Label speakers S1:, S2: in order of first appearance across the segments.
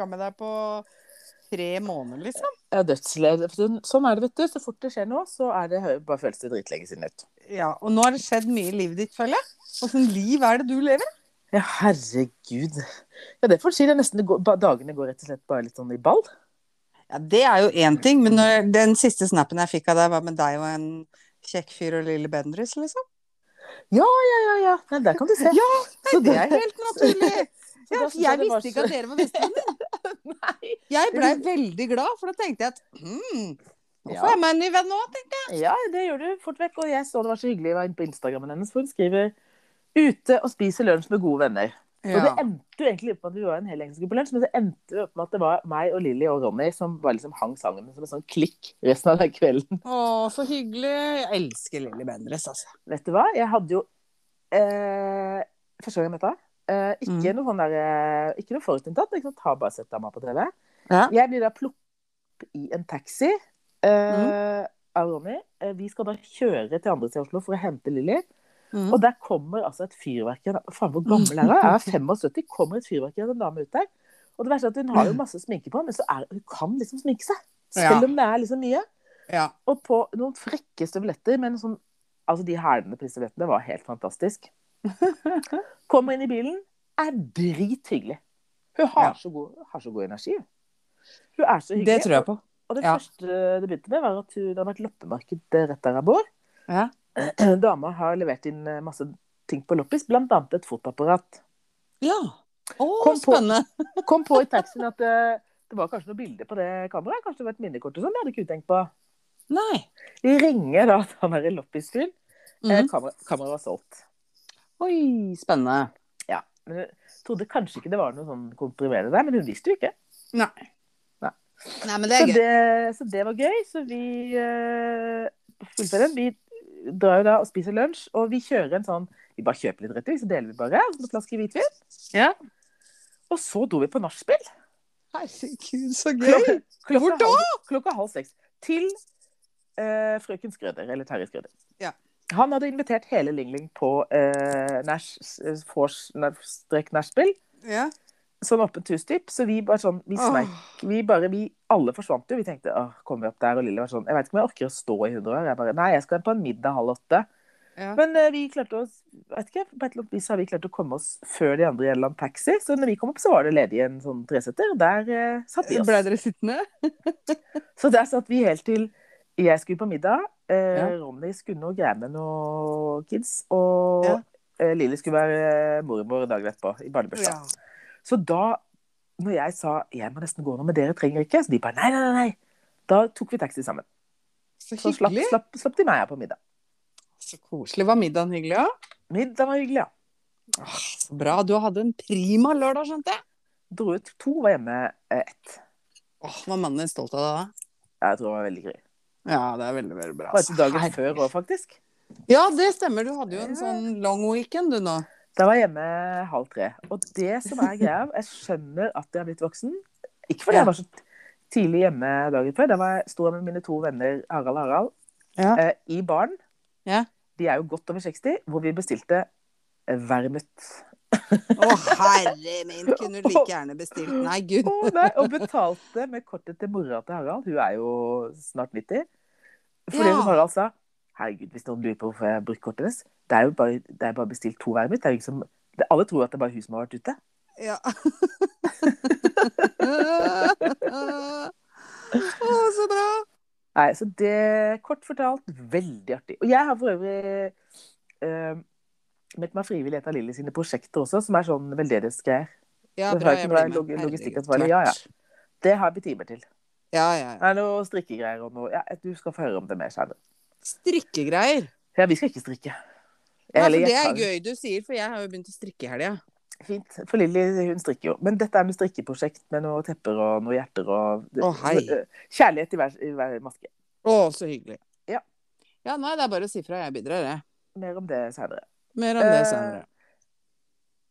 S1: med deg på tre måneder, liksom.
S2: Jeg er dødsledd. Sånn er det, vet du. Så fort det skjer noe, så er det hø- bare føles det dritlenge siden ut.
S1: Ja, Og nå har det skjedd mye i livet ditt, føler jeg. Åssen liv er det du lever?
S2: Ja, herregud. Ja, det får du si. Det er nesten det går, ba- dagene går rett og slett bare litt sånn i ball.
S1: Ja, Det er jo én ting, men når, den siste snappen jeg fikk av deg, var med deg og en kjekk fyr og lille Bendriss, liksom.
S2: Ja, ja, ja. Nei, der kan du se.
S1: Ja,
S2: Så
S1: Det er helt naturlig.
S2: så
S1: Ja,
S2: da
S1: for
S2: synes
S1: jeg
S2: det var
S1: visste ikke
S2: så-
S1: at dere var bestevenner.
S2: Nei.
S1: Jeg blei veldig glad, for da tenkte jeg at hmm, nå
S2: Ja.
S1: får jeg meg en ny venn nå. tenkte jeg.
S2: Ja, det gjør du fort vekk. Og jeg så det var så hyggelig jeg var inne på Instagrammen hennes, for hun skriver Ute og spiser lunsj med gode venner. Og det
S1: Ja.
S2: endte jo egentlig opp med at vi var en hel gjeng som skulle på lunsj, men det endte jo opp med at det var meg og Lilly og Ronny som bare liksom hang sammen som en sånn klikk resten av den kvelden.
S1: Å, så hyggelig. Jeg elsker Lilly Bendriss, altså.
S2: Vet du hva? Jeg hadde jo eh, Første gang jeg møtte henne. Eh, ikke,
S1: Mm.
S2: noe sånn der, eh, ikke noe forutinntatt. Liksom, ta bare sett dama på TV.
S1: Ja.
S2: Jeg blir da plukket opp i en taxi
S1: Mm.
S2: eh, av Ronny. Eh, vi skal da kjøre til andre siden av Oslo for å hente Lilly.
S1: Mm.
S2: Og der kommer altså et fyrverkeri. Faen, hvor gammel er hun? Jeg er 75. Kommer et fyrverkeri av en dame ut der. Og det verste er at hun har jo masse sminke på, men så er, hun kan liksom sminke seg. Selv
S1: Ja.
S2: om det er liksom mye.
S1: Ja.
S2: Og på noen frekke støvletter, men sånn Altså, de hælene på de støvlettene var helt fantastisk. Kommer inn i bilen, er drithyggelig. Hun har,
S1: Ja.
S2: så god, har så god energi. Hun er så hyggelig.
S1: Det tror jeg på.
S2: Og det
S1: Ja.
S2: første det begynte med, var at hun, det har vært loppemarked rett der jeg bor.
S1: Ja.
S2: Dama har levert inn eh, masse ting på loppis, blant annet et fotapparat.
S1: ja. Å,
S2: Kom på-
S1: spennende.
S2: Kom på i taxien at eh, det var kanskje noen bilder på det kameraet. Kanskje det var et minnekort og sånn. Det hadde ikke hun tenkt på.
S1: Nei.
S2: Vi ringer da til han derre loppisfyren.
S1: Mhm.
S2: Eh, kamera- Kameraet var solgt.
S1: Oi, spennende.
S2: Ja. Men hun trodde kanskje ikke det var noe sånn komprimerende der, men hun visste jo ikke.
S1: Nei, men det
S2: Så
S1: er gøy.
S2: det, så det var gøy. Så vi eh, fullfører den. Vi drar jo da og spiser lunsj, og vi kjører en sånn Vi bare kjøper litt rett i, så deler vi bare. Og så en flaske hvitvin.
S1: Ja.
S2: Og så dro vi på nachspiel.
S1: Herregud, så
S2: Klokka, klokka,
S1: Hvor da?
S2: halv- klokka halv seks. Til eh, frøken Skrøder, eller Terje Skrøder.
S1: Ja.
S2: Han hadde invitert hele Lingling på eh, nach- s- vors- nach- strek nachspiel,
S1: Ja.
S2: sånn åpent hustyp. Så vi bare sånn Vi smeik. Vi bare, vi alle forsvant jo. Vi tenkte åh, kommer vi opp der? Og Lille var sånn Jeg vet ikke om jeg orker å stå i 100 år. Jeg bare Nei, jeg skal på en middag halv åtte.
S1: Ja.
S2: Men eh, vi klarte oss vet ikke, På et eller annet vis har vi klart å komme oss før de andre i en eller annen taxi. Så når vi kom opp, så var det ledig en sånn tresetter. og Der eh, satt vi oss.
S1: Ble dere sittende?
S2: Så der satt vi helt til jeg skulle på middag. Eh,
S1: Ja.
S2: Ronny skulle noe greier med noen kids. Og
S1: Ja.
S2: eh, Lilly skulle være eh, mormor dagen etterpå, i barnebursdag. Så da, når jeg sa jeg må nesten gå nå, men dere trenger ikke, så de bare nei, nei, nei, nei. Da tok vi taxi sammen.
S1: Så
S2: Så slapp,
S1: hyggelig.
S2: slapp, slapp de meg her på middag.
S1: Så koselig. Var middagen hyggelig, ja?
S2: Middag var hyggelig, ja.
S1: Åh, så bra. Du hadde en prima lørdag, skjønte jeg.
S2: Dro ut to, var hjemme eh, ett.
S1: Åh, Var mannen din stolt av deg da?
S2: Jeg tror det var veldig gøy.
S1: Ja, det er veldig, veldig bra.
S2: Bare til dagen
S1: Her-
S2: før òg, faktisk.
S1: Ja, det stemmer. Du hadde jo en
S2: Ja.
S1: sånn long weekend, du nå.
S2: Da var jeg hjemme halv tre. Og det som er greia, jeg skjønner at jeg har blitt voksen. Ikke fordi
S1: Ja.
S2: jeg var så tidlig hjemme dagen før. Da var jeg, sto jeg med mine to venner Harald og Harald
S1: Ja.
S2: eh, i baren.
S1: Ja.
S2: De er jo godt over 60, hvor vi bestilte eh, vermut.
S1: Å, herre min, kunne du like gjerne bestilt Nei, gud.
S2: Å, nei, og betalte med kortet til mora til Harald. Hun er jo snart 90. Fordi
S1: Ja.
S2: som Harald sa Herregud, hvis noen lurer på hvorfor jeg har brukt kortet hennes Det er jo bare, det er bare bestilt to vermut. Det er jo ikke som, det, alle tror at det er bare hun som har vært ute.
S1: Ja. Å, så bra.
S2: Nei, så det Kort fortalt, veldig artig. Og jeg har for øvrig eh, meldt meg frivillig i et av Lilly sine prosjekter også, som er sånn veldedighetsgreier.
S1: Ja,
S2: Det var
S1: bra.
S2: ikke
S1: Jeg
S2: bra
S1: blir med.
S2: log- logistikkansvarlig.
S1: Herregud,
S2: Ja, ja.
S1: klart.
S2: Det har vi timer til.
S1: Ja, ja. ja.
S2: Det er noe strikkegreier og noe ja, Du skal få høre om det mer senere.
S1: Strikkegreier.
S2: Ja, vi skal ikke
S1: Ja,
S2: strikke.
S1: for
S2: Eller jeg
S1: det er
S2: kan-
S1: gøy du sier, for jeg har jo begynt å strikke i helga.
S2: Fint. For Lilly, hun strikker jo. Men dette er med strikkeprosjekt med noe tepper og noe hjerter og eh,
S1: Å, hei.
S2: Kjærlighet i hver, i hver maske.
S1: Å, så hyggelig.
S2: Ja.
S1: Ja, nei, det er bare å si fra. Jeg bidrar, jeg.
S2: Mer om det seinere.
S1: Mer om det
S2: Eh,
S1: senere.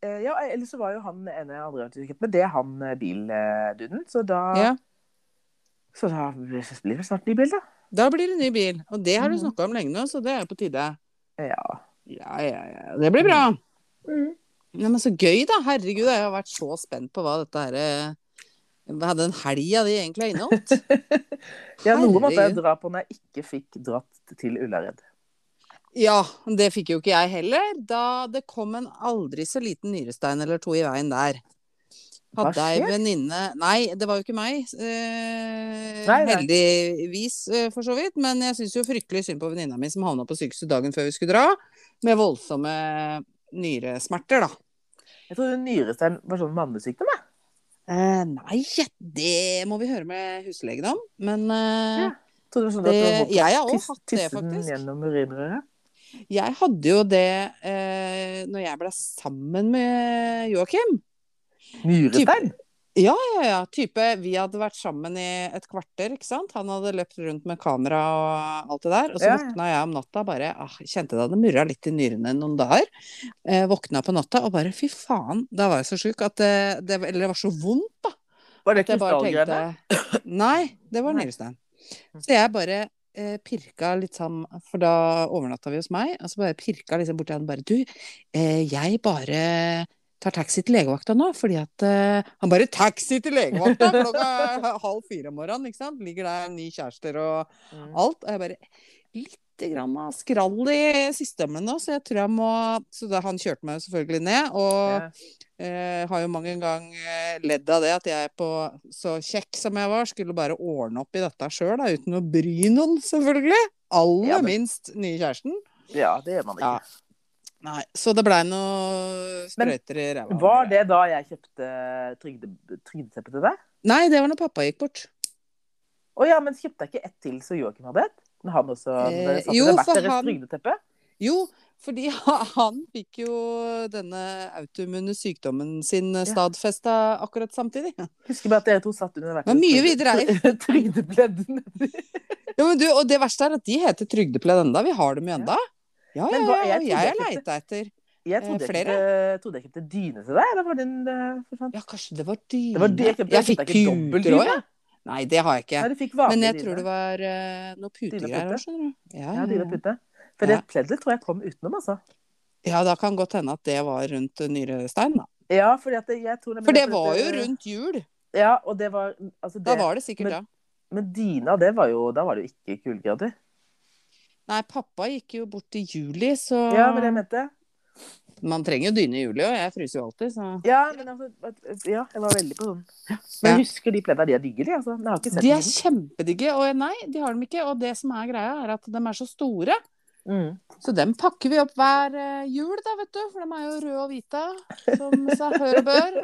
S2: Eh, Ja, eller så var jo han ene jeg aldri har trykket med, det er han eh, bilduden. Så da,
S1: Ja.
S2: så da blir det snart ny bil, da.
S1: Da blir det ny bil. Og det har du
S2: Mhm.
S1: snakka om lenge nå, så det er på tide.
S2: Eh, Ja.
S1: Ja, ja, ja. Det blir bra. Ja, men så gøy, da. Herregud, jeg har vært så spent på hva dette her eh, hadde en helg av de egentlig inneholdt.
S2: Ja, noe måtte jeg
S1: Herregud.
S2: dra på når jeg ikke fikk dratt til Ullared.
S1: Ja, det fikk jo ikke jeg heller, da det kom en aldri så liten nyrestein eller to i veien der.
S2: Hva
S1: Hadde ei
S2: skjer?
S1: venninne Nei, det var jo ikke meg. Eh,
S2: Nei, nei.
S1: heldigvis, eh, for så vidt. Men jeg syns jo fryktelig synd på venninna mi som havna på sykehuset dagen før vi skulle dra, med voldsomme nyresmerter, da.
S2: Jeg trodde nyrestein var sånn mannesykdom. jeg.
S1: Eh, nei, det må vi høre med huslegen om. Men eh,
S2: Ja, Trodde det var sånn at
S1: det,
S2: du holdt på
S1: jeg har
S2: å
S1: òg
S2: tisse-
S1: hatt det,
S2: tisse den
S1: faktisk.
S2: gjennom urinrøret.
S1: Jeg hadde jo det eh, når jeg ble sammen med Joakim.
S2: Nyrestein?
S1: Ja, ja, type Vi hadde vært sammen i et kvarter, ikke sant. Han hadde løpt rundt med kamera og alt det der. Og så
S2: Ja, ja.
S1: våkna jeg om natta bare ah, Kjente det hadde murra litt i nyrene noen dager. Eh, våkna på natta og bare fy faen, da var jeg så sjuk at det, det Eller det var så vondt, da.
S2: Var det
S1: At jeg bare
S2: krystallgrønne?
S1: tenkte Nei, det var
S2: Nei.
S1: nyrestein. Så jeg bare eh, pirka litt sammen, for da overnatta vi hos meg, og så bare pirka liksom borti han bare Du, eh, jeg bare tar taxi til legevakta nå, fordi at eh, Han bare taxi til legevakta klokka halv fire om morgenen, ikke sant? Ligger der ni kjærester og
S2: Mm.
S1: alt. Og jeg bare litt grann av skrall i systemet nå, så jeg tror jeg må Så da, han kjørte meg jo selvfølgelig ned, og eh, har jo mange ganger ledd av det at jeg på så kjekk som jeg var, skulle bare ordne opp i dette sjøl, uten å bry noen, selvfølgelig. Aller
S2: Ja, men-
S1: minst nye kjæresten.
S2: Ja, det gjør man ikke.
S1: Ja. Nei, så det blei noe sprøyter i ræva.
S2: Var det da jeg kjøpte trygde, trygdeteppet til deg?
S1: Nei, det var når pappa gikk bort.
S2: Å ja, men kjøpte jeg ikke ett til så Joakim hadde et? Men han også
S1: Eh,
S2: dere satte
S1: jo,
S2: det hvert
S1: for
S2: deres
S1: han-
S2: trygdeteppe?
S1: Jo, fordi han fikk jo denne autoimmune sykdommen sin stadfesta akkurat samtidig.
S2: Husker bare at dere to satt under hvert
S1: Det var mye
S2: trygde- trygdepledden.
S1: Ja, men du, og det verste er at de heter trygdepledd enda. Vi har dem jo enda. Ja, ja,
S2: Men hva-
S1: ja.
S2: jeg
S1: Og
S2: trodde
S1: jeg
S2: jeg
S1: er
S2: kjøpte-
S1: leita etter.
S2: Jeg
S1: Eh,
S2: trodde jeg,
S1: flere?
S2: kjøpte, trodde jeg kjøpte dyne til deg, eller var den eh, forsvant?
S1: Ja, kanskje det var dyne.
S2: Det var det jeg kjøpte.
S1: Jeg fikk
S2: kjøpte ikke dobbelt
S1: puter
S2: dyne.
S1: òg, jeg. Nei, det har jeg ikke.
S2: Nei, du fikk
S1: Men
S2: vanlig
S1: jeg tror det
S2: dyne.
S1: var eh, noe putegreier
S2: pute.
S1: òg, skjønner du. Ja,
S2: Ja, dyne og
S1: ja, ja.
S2: pute. For
S1: Ja.
S2: det pleddet tror jeg kom utenom, altså.
S1: ja, da kan godt hende at det var rundt eh, nyrestein, da.
S2: Ja, fordi at det- jeg tror
S1: For det var jo rundt jul.
S2: Ja, og det var altså det,
S1: Da var det sikkert
S2: men-
S1: da.
S2: Men dyna, det var jo Da var det jo ikke kulegrader.
S1: Nei, pappa gikk jo bort i juli, så
S2: Ja, men jeg mente
S1: Man trenger jo dyne i juli, og jeg fryser jo alltid, så
S2: Ja, men altså, at- ja, jeg var veldig på sånn. Men
S1: Ja.
S2: jeg husker de pledda de er digge, de, altså. Men jeg har ikke sett
S1: De er
S2: dem.
S1: kjempedigge, og nei, de har dem ikke. Og det som er greia, er at de er så store.
S2: Mm.
S1: Så dem pakker vi opp hver eh, jul, da, vet du. For de er jo røde og hvite, som seg hør og bør.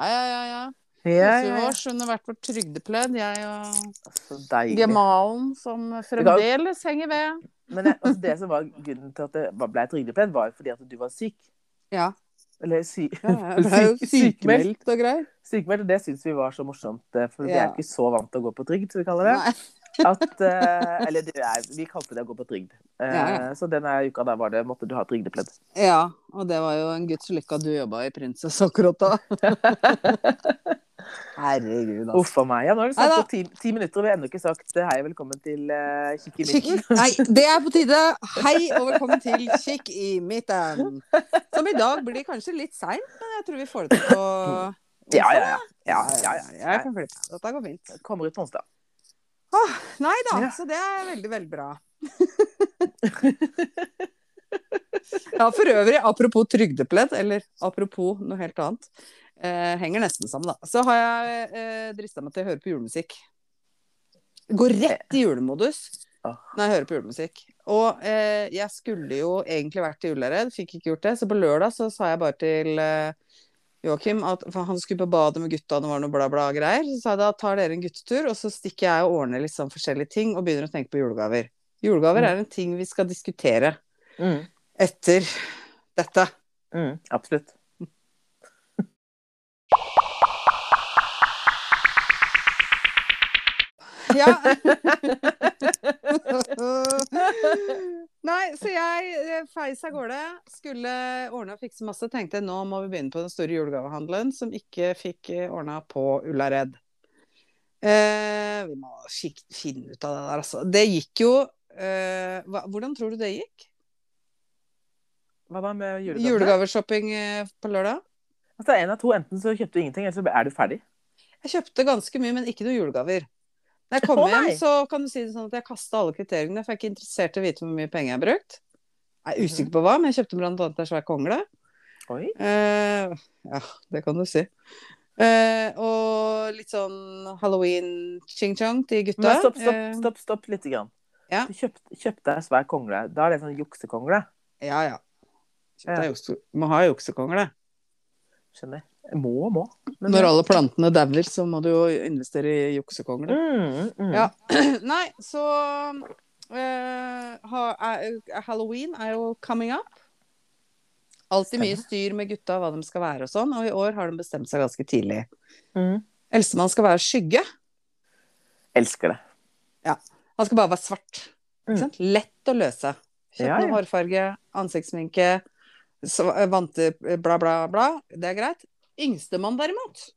S1: Ja, ja, ja. ja.
S2: Ja, ja, ja.
S1: Års under hvert vårt trygdepledd. Jeg og
S2: Så deilig.
S1: gemalen som fremdeles henger ved.
S2: Men jeg, altså, det som var grunnen til at det var- ble et trygdepledd, var jo fordi at du var syk.
S1: Ja.
S2: Eller sy
S1: ja jeg ble jo
S2: Syk- sykemeldt.
S1: sykemeldt og greier.
S2: sykemeldt. Og det syns vi var så morsomt, eh, for vi er
S1: Ja.
S2: ikke så vant til å gå på trygd, som vi kaller det.
S1: Nei.
S2: At, eh, eller det er, vi kalte det å gå på trygd. Eh,
S1: Ja, ja.
S2: Så denne uka der var det, måtte du ha trygdepledd.
S1: Ja, og det var jo en guds lykke at du jobba i Prinsesse akkurat da. Herregud, altså.
S2: Uff a meg. Ja, nå har vi snakket
S1: Neida.
S2: på ti, ti minutter, og vi har ennå ikke sagt eh, hei og velkommen til uh, Kikk i midten.
S1: Kikk, nei, det er på tide. Hei og velkommen til Kikk i midten. Som i dag blir kanskje litt seint, men jeg tror vi får det til på
S2: Ja, ja, ja. ja, ja, ja.
S1: Jeg kan flytte. Dette går fint.
S2: Kommer ut på onsdag.
S1: Nei da,
S2: Ja.
S1: så det er veldig, veldig bra. Ja, for øvrig, apropos trygdepledd, eller apropos noe helt annet, eh, henger nesten sammen, da. Så har jeg eh, drista meg til å høre på julemusikk. Går rett i julemodus
S2: Ah.
S1: når jeg hører på julemusikk. Og eh, jeg skulle jo egentlig vært i Ullared, fikk ikke gjort det. Så på lørdag så sa jeg bare til eh, Joakim at for han skulle på badet med gutta, det var noe bla, bla greier. Så sa jeg da tar dere en guttetur, og så stikker jeg og ordner litt sånn forskjellige ting og begynner å tenke på julegaver. Julegaver er en ting vi skal diskutere
S2: Mm.
S1: etter dette.
S2: Mm. Absolutt.
S1: Ja. Nei, så jeg eh, feis av gårde. Skulle ordne og fikse masse. Tenkte nå må vi begynne på den store julegavehandelen som ikke fikk eh, ordna på Ullared. Eh, vi må fik finne ut av det der, altså. Det gikk jo eh, hva, Hvordan tror du det gikk?
S2: Hva da med julegavene?
S1: Julegaveshopping eh, på lørdag?
S2: Altså, en av to, enten så kjøpte du ingenting, eller så er du ferdig.
S1: Jeg kjøpte ganske mye, men ikke noen julegaver. Når jeg kom
S2: Å, nei.
S1: hjem, så kan du si det sånn at jeg kasta alle kriteriene, for jeg er ikke interessert i å vite hvor mye penger jeg har brukt. Jeg er
S2: Mhm.
S1: usikker på hva, men jeg kjøpte blant annet en svær kongle.
S2: Oi.
S1: Eh, ja, det kan du si. Eh, og litt sånn halloween-ching-chong til gutta.
S2: Men stopp, stopp,
S1: Eh,
S2: stopp, stopp litt. Grann.
S1: Ja.
S2: Du kjøpte, kjøpte ei svær kongle. Da er det sånn juksekongle.
S1: ja, ja. Kjøpte
S2: Ja.
S1: jeg jukse- Må ha juksekongle.
S2: Skjønner. Må og må. Men-
S1: Når alle plantene dauer, så må du jo investere i juksekongle.
S2: mm, mm.
S1: Ja. Nei, så eh, ha- er- Halloween er jo coming up. Alltid mye styr med gutta hva de skal være og sånn, og i år har de bestemt seg ganske tidlig.
S2: Mm.
S1: Eldstemann skal være skygge.
S2: Elsker det.
S1: Han skal bare være svart.
S2: Mm.
S1: Ikke sant? Lett å løse. Kjøtt
S2: Ja,
S1: med
S2: ja.
S1: hårfarge, ansiktsminke, sv- vanter, eh, bla, bla, bla. Det er greit. Yngstemann, derimot,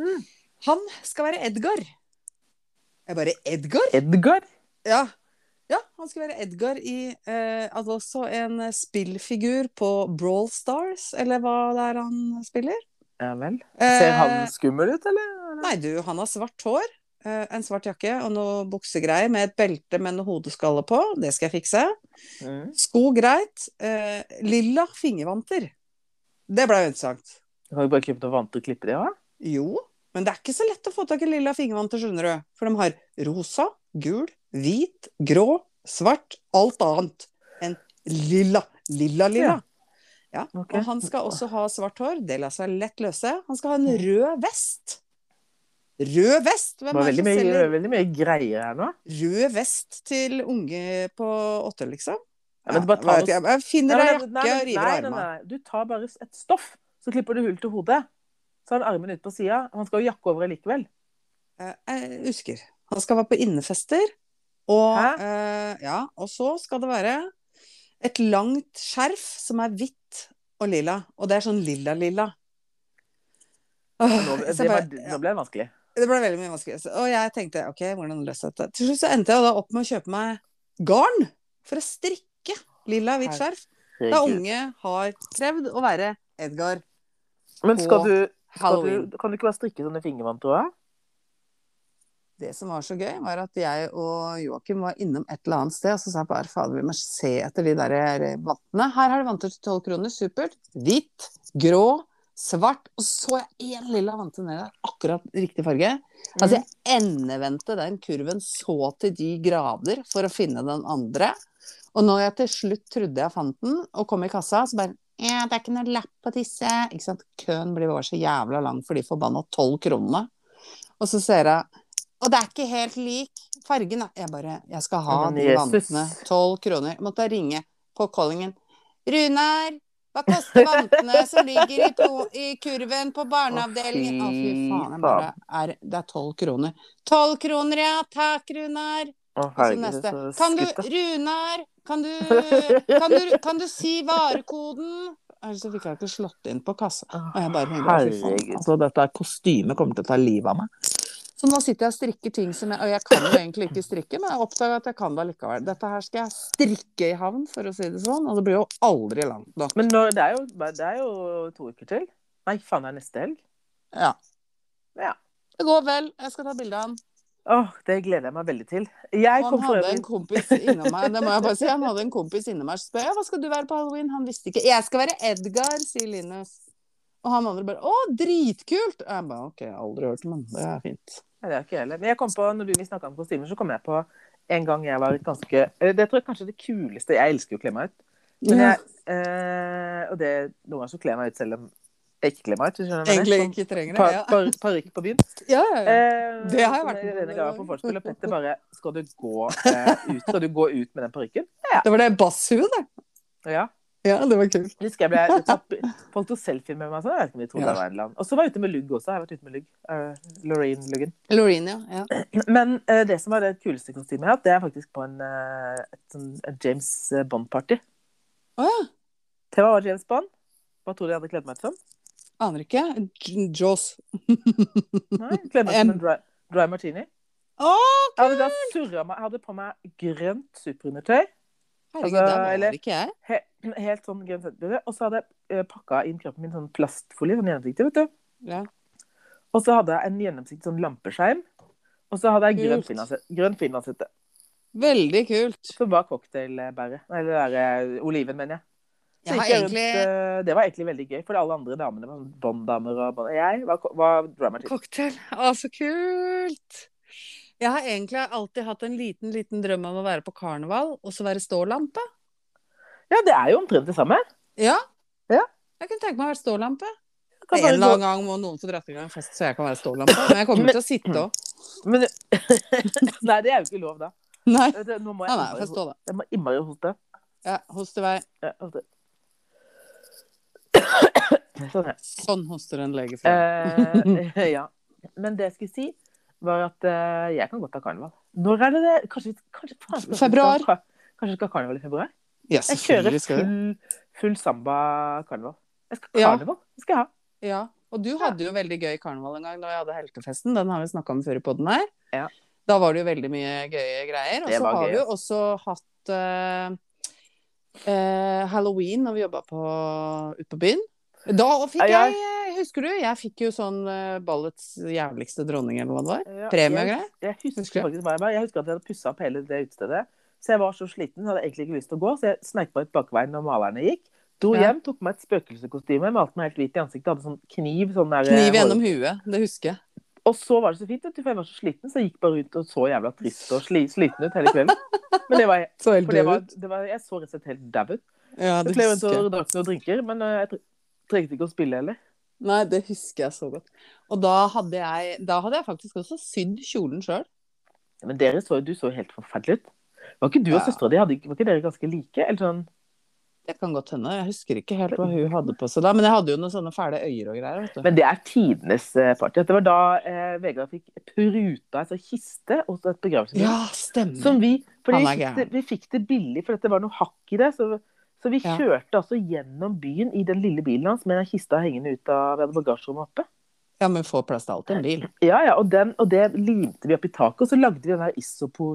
S2: Mm.
S1: han skal være Edgar. Jeg bare Edgar?
S2: Edgar.
S1: Ja. ja, han skulle være Edgar i eh, altså også en eh, spillfigur på Brawl Stars, eller hva det er han spiller.
S2: Ja vel.
S1: Eh,
S2: Ser han skummel ut, eller?
S1: Nei, du, han har svart hår, eh, en svart jakke og noe buksegreier med et belte med noe hodeskalle på. Det skal jeg fikse.
S2: Mm.
S1: Sko greit. Eh, lilla fingervanter. Det ble jo interessant.
S2: Du kan jo bare klippe noen vanter og klippe det òg.
S1: Jo, men det er ikke så lett å få tak i lilla fingervanter, skjønner du. For de har rosa, gul, hvit, grå, svart, alt annet enn lilla. Lilla, lilla. Ja.
S2: Ok.
S1: Og han skal også ha svart hår. Det lar seg lett løse. Han skal ha en rød vest. Rød vest!
S2: Det
S1: Hvem
S2: var
S1: er det
S2: veldig
S1: som
S2: mye,
S1: selger
S2: veldig mye greier her nå.
S1: rød vest til unge på åtte, liksom?
S2: Ja, men bare ta
S1: vet
S2: noe-
S1: jeg, jeg finner ei
S2: Nei,
S1: jakke
S2: men- nei,
S1: og
S2: men-
S1: river
S2: nei,
S1: av
S2: nei,
S1: armene.
S2: nei. Du tar bare et stoff, så klipper du hull til hodet. Så har han armen ut på sida. Han skal jo jakke over likevel.
S1: Eh, Jeg husker. Han skal være på innefester. Og,
S2: Hæ?
S1: eh, ja, og så skal det være et langt skjerf som er hvitt og lilla. Og det er sånn lilla-lilla.
S2: Nå, det, var, nå ble det vanskelig.
S1: det ble veldig mye vanskelig. Så- Og jeg tenkte ok, hvordan løser jeg dette? Til slutt så endte jeg da opp med å kjøpe meg garn for å strikke lilla hvitt skjerf. Da
S2: Herregud.
S1: unge har krevd å være Edgar
S2: Men skal
S1: på
S2: du, skal
S1: Halloween.
S2: du Kan du ikke bare strikke sånn sånne fingervanter òg?
S1: Det som var så gøy, var at jeg og Joakim var innom et eller annet sted, og så sa jeg bare fader, vi må se etter de der vantene. Her har de vanter til tolv kroner, supert. Hvitt, grå, svart. Og så jeg én lilla vante nedi der, akkurat riktig farge.
S2: Mm.
S1: Altså, jeg endevendte den kurven så til de grader for å finne den andre. Og når jeg til slutt trodde jeg fant den, og kom i kassa, så bare ja, det er ikke noe lapp på disse. Ikke sant? Køen blir bare så jævla lang for de forbanna tolv kronene. Og så ser jeg Og det er ikke helt lik fargen, da. Jeg bare Jeg skal ha
S2: Men
S1: de
S2: Jesus.
S1: vantene. Tolv kroner. Jeg måtte ringe på callingen. Runar, hva koster vantene som ligger i, to, i kurven på barneavdelingen? Å, fy faen. Jeg bare, er, det er tolv kroner. Tolv kroner, ja. Takk, Runar.
S2: Mm. Å,
S1: Og så
S2: herregud,
S1: altså, neste.
S2: så
S1: Kan du,
S2: skutt, da.
S1: Runar, kan du, kan du, kan du si varekoden? Altså, så fikk jeg ikke slått inn på kassa. Og jeg bare tenkte, «Å, fy faen,
S2: Herregud.
S1: altså, dette kostymet kommer til å ta livet av meg. Så nå sitter jeg og strikker ting som jeg Og jeg kan jo egentlig ikke strikke, men jeg oppdaga at jeg kan det likevel. Dette her skal jeg strikke i havn, for å si det sånn. Og det blir jo aldri langt nok.
S2: Men nå, det, er jo, bare- det er jo to uker til. Nei, faen, det er neste helg.
S1: Ja.
S2: Ja.
S1: Det går vel. Jeg skal ta bilde av han.
S2: Åh, det gleder jeg meg veldig til. Jeg
S1: Han
S2: kom for
S1: hadde
S2: øvrig
S1: en kompis innom meg, det må jeg bare si. Han hadde en kompis innom meg som spør ja, hva skal du være på halloween. Han visste ikke. Jeg skal være Edgar, sier Linus. Og han andre bare å, dritkult. Og jeg bare ok, jeg har aldri hørt om han. Det er fint.
S2: Nei, det er ikke jeg heller. Men jeg kom på, når du, vi snakket om kostymer, så kom jeg på en gang jeg var et ganske eh, Det tror jeg kanskje er det kuleste Jeg elsker jo å kle meg ut. Men jeg, eh, og det, noen ganger så kler jeg meg ut selv om jeg ikke kler meg ut. hvis du skjønner hva jeg
S1: Egentlig
S2: mener.
S1: ikke trenger det.
S2: Par- par- Parykk på byen.
S1: Ja, ja, ja.
S2: Eh,
S1: Det har jeg
S2: så
S1: vært med på
S2: Irene
S1: noen
S2: ga meg
S1: ganger.
S2: på forspill, og Petter bare Skal du gå eh, ut? Skal du gå ut med den parykken?
S1: Det var det basshue, det.
S2: Og Ja.
S1: Ja, det var kult.
S2: Husker jeg ble tatt Folk tok selfie med meg, så jeg vet ikke om de trodde
S1: Ja.
S2: jeg var en eller annen. Og så var jeg ute med lugg også. Jeg har vært ute med lugg. Eh, Lorraine Luggen.
S1: Loreen, ja. ja.
S2: Men eh, det som var det kuleste kostymet jeg har hatt, det er faktisk på en, eh, et, sånn- et James Bond-party.
S1: Å ja.
S2: Tema var James Bond. Hva tror du jeg hadde kledd meg ut som?
S1: Aner ikke. J- Jaws.
S2: Nei, kledd meg ut
S1: Em.
S2: som en dry, dry martini.
S1: Å,
S2: Jeg hadde, da surret meg, jeg hadde på meg grønt superundertøy.
S1: herregud,
S2: Altså,
S1: det
S2: eller-
S1: var ikke jeg.
S2: He, helt sånn grønt superundertøy. Og så hadde jeg eh, pakka inn kroppen min sånn plastfolie, sånn gjennomsiktig, vet du.
S1: Ja.
S2: Og så hadde jeg en gjennomsiktig sånn lampeskjerm. Og så hadde jeg grønn
S1: Kult.
S2: finlandshette. Grønn finlandshette.
S1: Veldig kult.
S2: Som var cocktailbæret. Eller det der, eh, oliven, mener jeg. Så
S1: Jeg har
S2: gikk jeg rundt,
S1: egentlig
S2: eh, det var egentlig veldig gøy, for alle andre damene var sånn Bond-damer og Bond. Jeg var, var dramatisk.
S1: cocktail. Å, så kult! Jeg har egentlig alltid hatt en liten, liten drøm om å være på karneval, og så være stålampe.
S2: Ja, det er jo omtrent det samme.
S1: Ja.
S2: Ja.
S1: Jeg kunne tenke meg å være stålampe.
S2: Jeg
S1: En
S2: kan bare
S1: eller
S2: gå-
S1: annen gang må noen få dratt i gang en fest, så jeg kan være stålampe. Men jeg kommer
S2: Men-
S1: til å sitte òg.
S2: Men, nei, det er jo ikke lov, da.
S1: Nei.
S2: Vet du, Nå må
S1: Nei,
S2: jeg
S1: nei,
S2: innmari-
S1: få stå, da.
S2: jeg må innmari hoste.
S1: Ja, host i vei.
S2: Ja, hoste. Sånn, ja.
S1: Sånn hoster en lege fra.
S2: Eh, ja. Men det jeg skulle si, var at eh, jeg kan godt ha karneval. Når er det det? Kanskje, kanskje, faen, kanskje vi skal
S1: Februar.
S2: ha- Kanskje vi skal ha karneval i februar?
S1: Ja,
S2: Jeg kjører
S1: selvfølgelig skal du.
S2: full, full samba-karneval. Jeg skal
S1: Ja.
S2: karneval. Det skal jeg ha.
S1: Ja. Og du hadde jo veldig gøy karneval en gang da jeg hadde heltefesten. Den har vi snakka om før i podden her.
S2: Ja.
S1: Da var det jo veldig mye gøye greier. Og
S2: Det
S1: så
S2: var
S1: har
S2: gøy, altså.
S1: vi jo også hatt eh, eh, halloween når vi jobba ute på byen. Da fikk
S2: Ja,
S1: jeg,
S2: jeg-
S1: eh, Husker du? Jeg fikk jo sånn eh, ballets jævligste dronning, eller hva det var.
S2: Ja,
S1: Premie og
S2: jeg,
S1: greier.
S2: jeg husker
S1: Husker du?
S2: faktisk hva jeg var. Jeg husker at jeg hadde pussa opp hele det utestedet. Så jeg var så sliten, så hadde jeg egentlig ikke lyst til å gå. Så jeg sneik meg ut bakveien når malerne gikk. Dro
S1: Ja.
S2: hjem, tok meg et spøkelseskostyme, malte meg helt hvit i ansiktet, hadde sånn kniv sånn der,
S1: Kniv gjennom huet, det husker jeg.
S2: Og så var det så fint, vet du, for jeg var så sliten, så jeg gikk bare rundt og så jævla trist og sli, sliten ut hele kvelden. Men det var,
S1: Så helt
S2: for det var,
S1: død ut.
S2: det var Jeg så rett og slett helt dau ut.
S1: Ja,
S2: Så
S1: det
S2: ble jeg rundt
S1: husker jeg.
S2: og drakk noen drinker, men eh, jeg tre- trengte ikke å spille heller.
S1: Nei, det husker jeg så godt. Og da hadde jeg, da hadde jeg faktisk også sydd kjolen sjøl.
S2: Men dere så, du så helt forferdelig ut. Var ikke du og
S1: Ja.
S2: søstera di hadde ikke- Var ikke dere ganske like? Eller sånn
S1: Det kan godt hende. Jeg husker ikke helt hva hun hadde på seg da, men jeg hadde jo noen sånne fæle øyer og greier. vet du.
S2: Men det er tidenes eh, party. Det var da eh, Vegard fikk pruta en sånn kiste og så et begravelsesbrev.
S1: Ja, stemmer.
S2: Som vi, fordi
S1: Han
S2: vi,
S1: er
S2: fikk
S1: gæren.
S2: det, vi fikk det billig, for det var noe hakk i det. Så, så vi
S1: Ja.
S2: kjørte altså gjennom byen i den lille bilen hans med den kista hengende ut av vi hadde bagasjerommet oppe.
S1: Ja, men får plass til alt i en bil.
S2: Ja, ja, og, den, og det limte vi opp i taket, og så lagde vi den der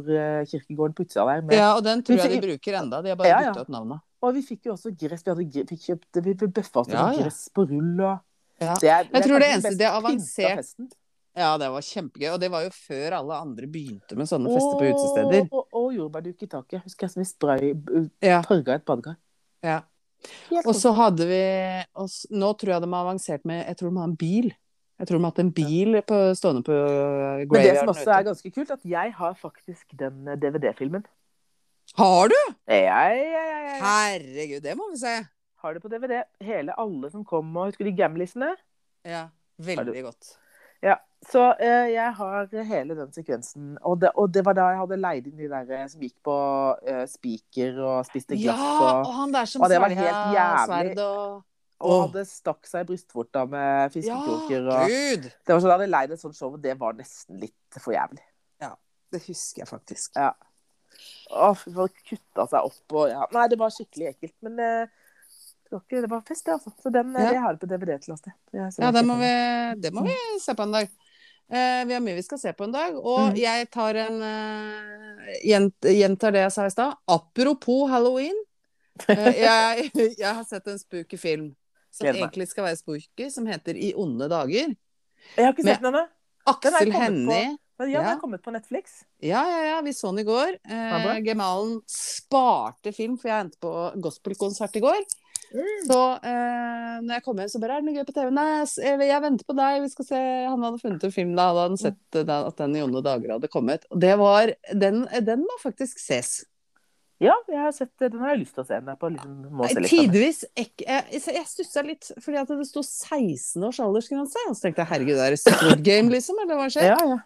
S2: Isopor-kirkegården på utsida der. Med,
S1: Ja, og den tror jeg de bruker enda. De har bare
S2: Ja, ja.
S1: bytta ut navnet.
S2: Og vi fikk jo også gress. Vi, hadde, gre- vi, kjøpte, vi bøffa oss til
S1: Ja,
S2: sånn
S1: ja.
S2: gress på rull og
S1: Ja.
S2: Det er-
S1: Jeg tror det
S2: kanskje
S1: eneste-
S2: best
S1: det er
S2: pynta
S1: avansert
S2: festen.
S1: Ja, det var kjempegøy. Og det var jo før alle andre begynte med sånne fester på utesteder.
S2: Og, og, og jordbærduk i taket. Husker jeg som vi spray
S1: Ja,
S2: farga et badekar.
S1: ja. Og så hadde vi og s- Nå tror jeg de har avansert med Jeg tror de har en bil. Jeg tror de har hatt en bil på, stående på øh,
S2: Men det som
S1: graveyarden.
S2: også er ganske kult, at jeg har faktisk den eh, DVD-filmen.
S1: ute. Har du?
S2: Jeg, jeg, jeg, jeg
S1: Herregud, det må vi se.
S2: har det på DVD. Hele alle som kom og Husker du de gamlisene?
S1: Ja,
S2: Har du?
S1: veldig godt.
S2: Ja. Så eh, jeg har hele den sekvensen. Og det, og det var da jeg hadde leid inn de der eh, som gikk på eh, spiker og spiste
S1: Ja,
S2: glass
S1: og
S2: og,
S1: han der som
S2: og det var
S1: svelga
S2: helt jævlig.
S1: sverd og
S2: og
S1: Åh.
S2: hadde stakk seg i brystvorta med fiskekroker.
S1: Ja,
S2: og,
S1: gud!
S2: det var sånn, jeg hadde leid et sånt show, og det var nesten litt for jævlig.
S1: Det husker jeg faktisk.
S2: Ja. Å, fy, folk kutta seg opp og ja. Nei, det var skikkelig ekkelt. Men eh, det var, ikke, det var fest, det, altså. Så den eh,
S1: Ja.
S2: jeg har det på DVD til oss. det. Jeg ser
S1: Ja,
S2: den
S1: det
S2: ikke
S1: må
S2: på.
S1: vi, det må vi se på en dag. Eh, vi har mye vi skal se på en dag.
S2: Mm.
S1: Og jeg tar en eh, gjent- Gjentar det jeg sa i stad. Apropos halloween. eh, jeg, jeg har sett en spooky film som
S2: Gleder meg.
S1: egentlig skal være spooky, som heter I onde dager.
S2: Jeg har ikke
S1: Men-
S2: sett den ennå. Den har jeg
S1: Aksel
S2: kommet på.
S1: Hennie.
S2: Men ja, den
S1: Ja.
S2: er kommet på Netflix.
S1: Ja, ja, ja. Vi så den i går.
S2: det
S1: Eh,
S2: bra?
S1: Gemalen sparte film, for jeg endte på gospelkonsert i går. Så eh, når jeg kom hjem, så bare Er det noe gøy på TV? Nei, jeg s- jeg, jeg venter på deg. Vi skal se Han hadde funnet en film da. Da hadde han sett eh, da, at den i onde dager hadde kommet. Og det var Den, den må faktisk ses.
S2: Ja, jeg har sett, eh, den har jeg lyst til å se. Den er på liksom, må se litt. av den.
S1: Eh, Tidvis ek- eh, Jeg, jeg stussa litt fordi at det sto 16 års aldersgrense. Og så tenkte jeg herregud, er det Squid Game, liksom? Eller hva skjer?
S2: Ja, ja.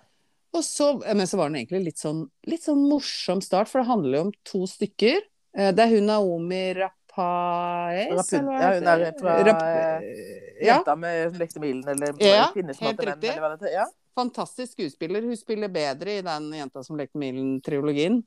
S1: Og så, men så var den egentlig litt sånn, litt sånn morsom start, for det handler jo om to stykker. Eh, Det er hun Naomi Rapaes,
S2: Rapun- ja, hun er fra,
S1: Rap- ja,
S2: Jenta med lektermilen, eller
S1: Ja,
S2: kvinner som
S1: helt
S2: hater menn,
S1: riktig.
S2: eller hva det heter. Ja.
S1: fantastisk skuespiller. Hun spiller bedre i den Jenta som lekte Milen-trilogien.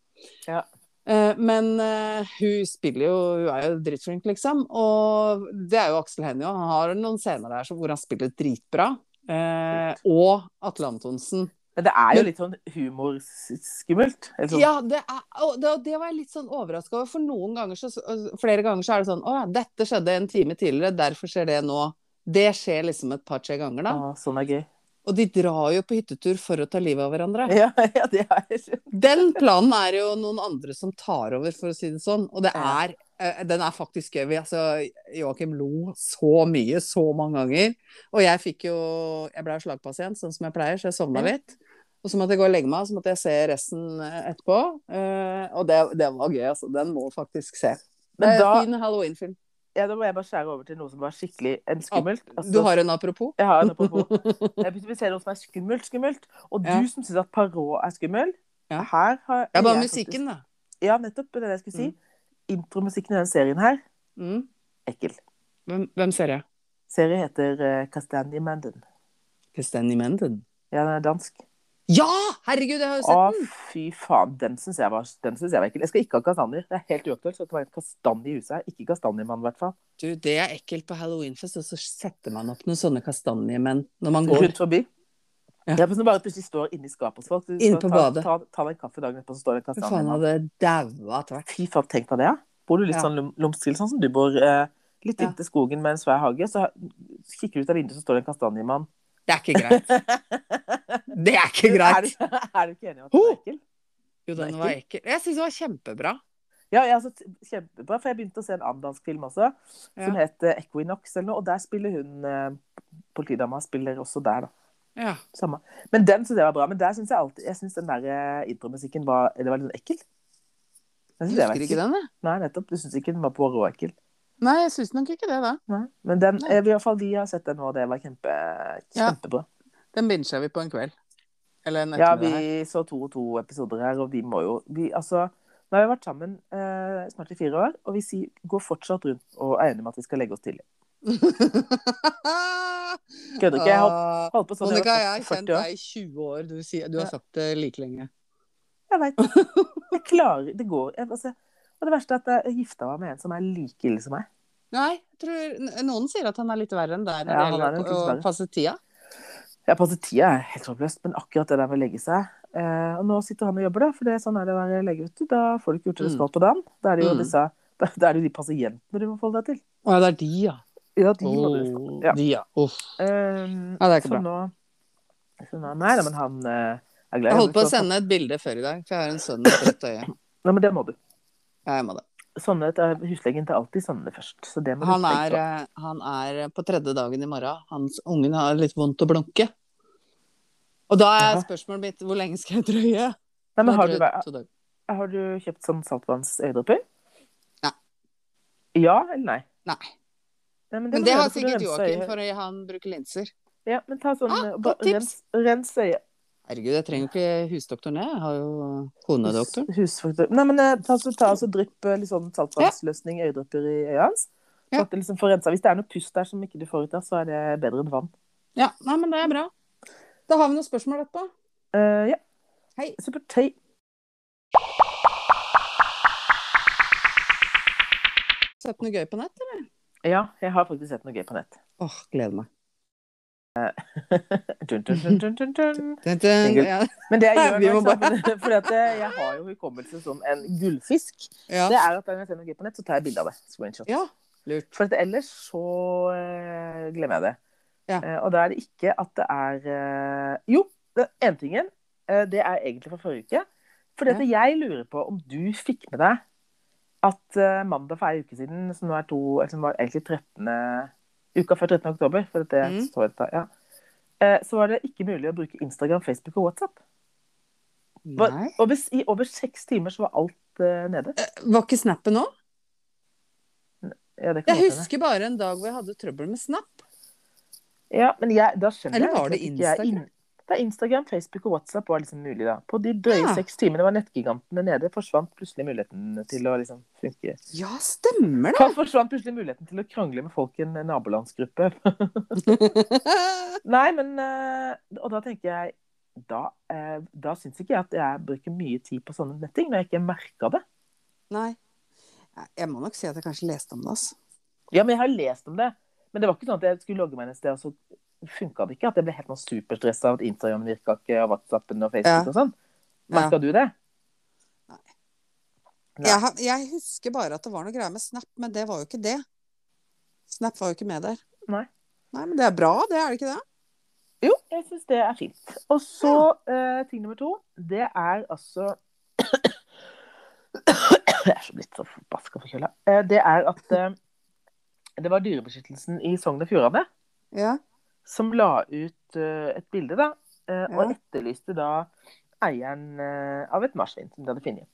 S2: Ja.
S1: Eh, Men eh, hun spiller jo Hun er jo dritflink, liksom. Og det er jo Aksel Hennie òg. Han har noen scener der som- hvor han spiller dritbra. Eh, og Atle Antonsen.
S2: Men det er
S1: Men-
S2: jo litt sånn humorskummelt. eller sånn.
S1: Ja, det, er, og det, og det var jeg litt sånn overraska over. For noen ganger så, flere ganger så er det sånn Å ja, dette skjedde en time tidligere, derfor skjer det nå. Det skjer liksom et par-tre ganger, da.
S2: Å, sånn er gøy.
S1: Og de drar jo på hyttetur for å ta livet av hverandre.
S2: Ja, ja, det har jeg skjønt.
S1: Den planen er jo noen andre som tar over, for å si det sånn. Og det
S2: Ja.
S1: er, eh, den er faktisk gøy. Vi- Altså, Joakim lo så mye, så mange ganger. Og jeg fikk jo Jeg ble jo slagpasient, sånn som jeg pleier, så jeg sovna
S2: Ja.
S1: litt. Og så måtte jeg gå og legge meg, og så måtte jeg se resten eh, etterpå. Eh, Og det, det var gøy, altså. Den må faktisk se. Det
S2: Men
S1: er
S2: da,
S1: en fin halloweenfilm.
S2: ja, da må jeg bare skjære over til noe som var skikkelig en skummelt. Altså,
S1: Du har en apropos?
S2: Jeg har en apropos. Jeg begynte å se noe som er skummelt, skummelt. Og du
S1: Ja.
S2: som syns at Parot er skummel,
S1: Ja.
S2: her har
S1: Ja, bare
S2: jeg faktisk-
S1: musikken, Mm. da.
S2: Ja, nettopp. Det er det jeg skulle si. Intromusikken i den serien her,
S1: Mm.
S2: ekkel.
S1: Hvem, hvem ser jeg?
S2: Serien heter eh, Castandy Mandon.
S1: Christiane Menden.
S2: Ja, den er dansk.
S1: Ja! Herregud, jeg har jo sett
S2: Å,
S1: den!
S2: fy faen. Den syns jeg var den synes jeg var ekkel. Jeg skal ikke ha kastanjer. Det er helt uaktuelt. Så det var en kastanje i huset her. Ikke kastanjemann, i hvert fall.
S1: Du, det er ekkelt på halloweenfest, og så setter man opp noen sånne kastanjemenn når man går.
S2: Rundt forbi.
S1: Ja.
S2: Det er som bare plutselig står inni skapet hos folk. Du
S1: Inne
S2: skal
S1: på
S2: ta,
S1: badet.
S2: Ta, ta deg en kaffe dagen etterpå, så står det en
S1: Fy faen,
S2: kastanjemann.
S1: hadde daua tvert.
S2: Fy faen, tenk deg det, ja. Bor du litt
S1: Ja.
S2: sånn lum- lumstil, sånn som du bor, eh, litt
S1: Ja.
S2: inntil skogen med en svær hage, så ha- kikker du ut av vinduet, så står det en kastanjemann.
S1: Det er ikke greit. Det er ikke
S2: Er,
S1: greit!
S2: du- er du ikke enig i at det
S1: Ho!
S2: er ekkel?
S1: Jo, den var ekkel. Jeg syns det var kjempebra.
S2: Ja, ja altså, t- kjempebra, for jeg begynte å se en annen dansk film også,
S1: Ja.
S2: som het eh, Equinox eller noe, og der spiller hun, eh, politidama spiller også der da.
S1: Ja.
S2: Samme. Men den synes jeg var bra, men der synes jeg alltid, jeg synes den der eh, intromusikken var, det var litt sånn ekkel. Jeg
S1: Jeg
S2: synes det var
S1: husker ikke den,
S2: ekkel.
S1: jeg.
S2: Nei, nettopp, du synes ikke den var på rå ekkel.
S1: Nei, jeg syns nok ikke det, da.
S2: Nei. Men den,
S1: Nei.
S2: eh, i hvert fall vi har sett den nå, og det var kjempe,
S1: Ja.
S2: kjempebra.
S1: Den bincha vi på en kveld. Eller en
S2: Ja,
S1: ettermiddag.
S2: vi så to og to episoder her, og vi må jo vi, altså, Nå har vi vært sammen eh, snart i fire år, og vi sier, går fortsatt rundt og er enige om at vi skal legge oss tidlig. Kødder ikke. Jeg holdt,
S1: Ah,
S2: holdt på sånn
S1: Monica,
S2: jeg
S1: jeg
S2: var
S1: har kjent
S2: 40 år.
S1: deg i 20 år. Du, sier, du har
S2: Ja.
S1: sagt det like lenge.
S2: Jeg vet Jeg klarer Det går jeg, altså, Og det verste er at jeg gifta meg med en som er like ille som meg.
S1: Nei, jeg tror, n- noen sier at han er litt verre enn deg når
S2: Ja,
S1: det
S2: han er
S1: gjelder
S2: nok
S1: å-
S2: litt verre.
S1: å passe tida.
S2: Ja, passet tida er helt håpløst, men akkurat det der med å legge seg eh, Og nå sitter han og jobber, da, for det er sånn er det å være lege, vet du. Da får du ikke gjort det du skal på dagen. Da er det jo
S1: Mm.
S2: disse da, da er det jo de pasientene du må forholde deg til.
S1: Å ja, det er de, ja.
S2: Ja, de må du
S1: Oh,
S2: Ja.
S1: de, ja. Uff.
S2: Um,
S1: Ja, det er ikke bra.
S2: så Nå, så nå, nei, nei, men han eh, er glad i
S1: Jeg holdt på å
S2: Så-
S1: sende et bilde før i dag, for jeg har en sønn med rødt øye.
S2: Nei, men det må du.
S1: Ja, jeg må det.
S2: Sånne, eh, huslegen tar alltid sånne først. Så det må
S1: Han
S2: du
S1: er,
S2: tenke på.
S1: eh, han er på tredje dagen i morgen. Hans Ungen har litt vondt å blunke. Og da er
S2: Jaha.
S1: spørsmålet mitt hvor lenge skal jeg drøye?
S2: Nei, men
S1: Jeg
S2: har du,
S1: drøyd
S2: vært-
S1: to dager.
S2: har du kjøpt sånn saltvannsøyedråper?
S1: Nei.
S2: Ja eller nei?
S1: Nei.
S2: nei men det,
S1: Men det
S2: må du
S1: har
S2: gjøre, for du
S1: sikkert
S2: renser
S1: Joakim,
S2: øyet.
S1: for han bruker linser.
S2: Ja, men ta sånn
S1: Ah,
S2: eh,
S1: godt
S2: ba,
S1: tips.
S2: rens, rens øyet.
S1: Herregud, jeg trenger ikke husdoktoren, jeg. Jeg har jo konedoktoren.
S2: Husfaktor. Nei, men eh, ta, så, ta og så drypp eh, litt sånn saltvannsløsning, øyedråper i øyet hans.
S1: Ja.
S2: Så at det liksom får rensa. Hvis det er noe pust der som ikke du får ut av, så er det bedre enn vann.
S1: Ja, nei, men det er bra. Da har vi noen spørsmål etterpå.
S2: Eh, ja.
S1: Hei.
S2: Supert. Hei.
S1: Sett noe gøy på nett, eller?
S2: Ja, jeg har faktisk sett noe gøy på nett.
S1: Åh, gleder meg.
S2: Dun, dun, dun, dun, dun, dun.
S1: Dun, dun,
S2: Ingrid.
S1: ja.
S2: Men det jeg gjør
S1: Vi
S2: nå,
S1: må
S2: ikke sant, for- fordi at eh, jeg har jo hukommelse som en gullfisk,
S1: Ja.
S2: det er at når jeg ser noe gøy på nett, så tar jeg bilde av det. Screenshot.
S1: ja. Lurt.
S2: For at ellers så eh, glemmer jeg det.
S1: Ja.
S2: Eh, og da er det ikke at det er eh, Jo, den ene tingen, eh, det er egentlig fra forrige uke. Fordi at jeg lurer på om du fikk med deg at eh, mandag for ei uke siden, som nå er to, eller som var egentlig 13. uka før 13. oktober, for at det
S1: Mm.
S2: så jeg da, ja. Eh, Så var det ikke mulig å bruke Instagram, Facebook og WhatsApp. Var-
S1: Nei.
S2: Over, I over seks timer så var alt eh, nede.
S1: Var ikke snappen nå?
S2: Ja, det kan
S1: Jeg
S2: godt hende.
S1: husker bare en dag hvor jeg hadde trøbbel med snap.
S2: Ja, men jeg, da skjønner
S1: Eller
S2: jeg
S1: var det
S2: egentlig at ikke jeg er
S1: Instagram?
S2: inn- Det er Instagram, Facebook og WhatsApp var liksom mulig da. På de drøye
S1: Ja.
S2: seks timene var nettgigantene nede, forsvant plutselig muligheten til å liksom funke.
S1: Ja, stemmer
S2: Hva forsvant plutselig muligheten til å krangle med folk i en nabolandsgruppe?
S1: det!
S2: Nei, men eh, Og da tenker jeg Da, eh, da syns ikke jeg at jeg bruker mye tid på sånne netting, når jeg ikke merka det.
S1: Nei. Jeg må nok si at jeg kanskje leste om det, altså.
S2: Ja, men jeg har lest om det. Men det var ikke sånn at jeg skulle logge meg inn et sted, og så funka det ikke. At jeg ble helt sånn superstressa av at Instagram virka ikke, og WhatsAppen og
S1: Ja.
S2: Facebook og sånn.
S1: Ja.
S2: Merka du det? Nei.
S1: Jeg, har- jeg husker bare at det var noe greier med snap, men det var jo ikke det. Snap var jo ikke med der.
S2: Nei.
S1: Nei, men det er bra, det, er det ikke det?
S2: Jo, jeg syns det er fint. Og så eh, ting nummer to, det er altså Jeg er så blitt så forbaska forkjøla. Eh, det er at eh, det var Dyrebeskyttelsen i Sogn og Fjordane
S1: Ja.
S2: som la ut eh, et bilde, da. eh,
S1: Ja.
S2: Og etterlyste da eieren eh, av et marsvin som de hadde funnet.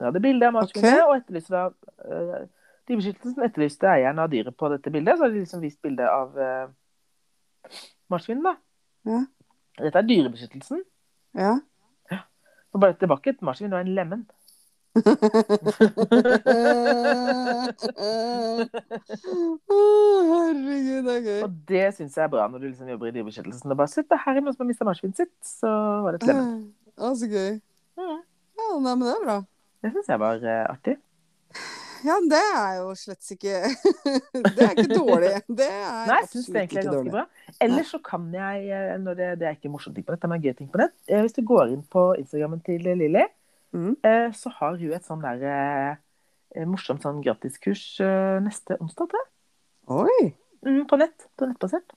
S2: De hadde bilde av marsvinet, og etterlyste da eh, Dyrebeskyttelsen etterlyste eieren av dyret på dette bildet. Så har de liksom vist bilde av eh, marsvinet, da.
S1: Ja.
S2: Dette er Dyrebeskyttelsen.
S1: Ja.
S2: Og bare at Det var ikke et marsvin, det var en lemen.
S1: Å, herregud, det er gøy.
S2: Og det syns jeg er bra når du liksom jobber i Dyrebeskyttelsen. Og bare sitt, det her er noen som har mista marsvinet sitt. Så var det et lemen.
S1: Å, så gøy.
S2: Mhm.
S1: Ja, nei, men det er bra.
S2: Det syns jeg var eh, artig.
S1: Ja, men det er jo slett ikke Det er ikke dårlig. Det er
S2: Nei, jeg syns det
S1: absolutt
S2: egentlig
S1: ikke
S2: er ganske
S1: dårlig.
S2: bra. Ellers så kan jeg, eh, når det, det er ikke morsomme ting på nett, det er gøye ting på nett Eh, Hvis du går inn på Instagrammen til Lilly,
S1: Mhm.
S2: eh, så har hun et sånn der eh, eh, morsomt sånn gratiskurs eh, neste onsdag, tror jeg.
S1: Oi.
S2: Mm, på nett. På nettbasert.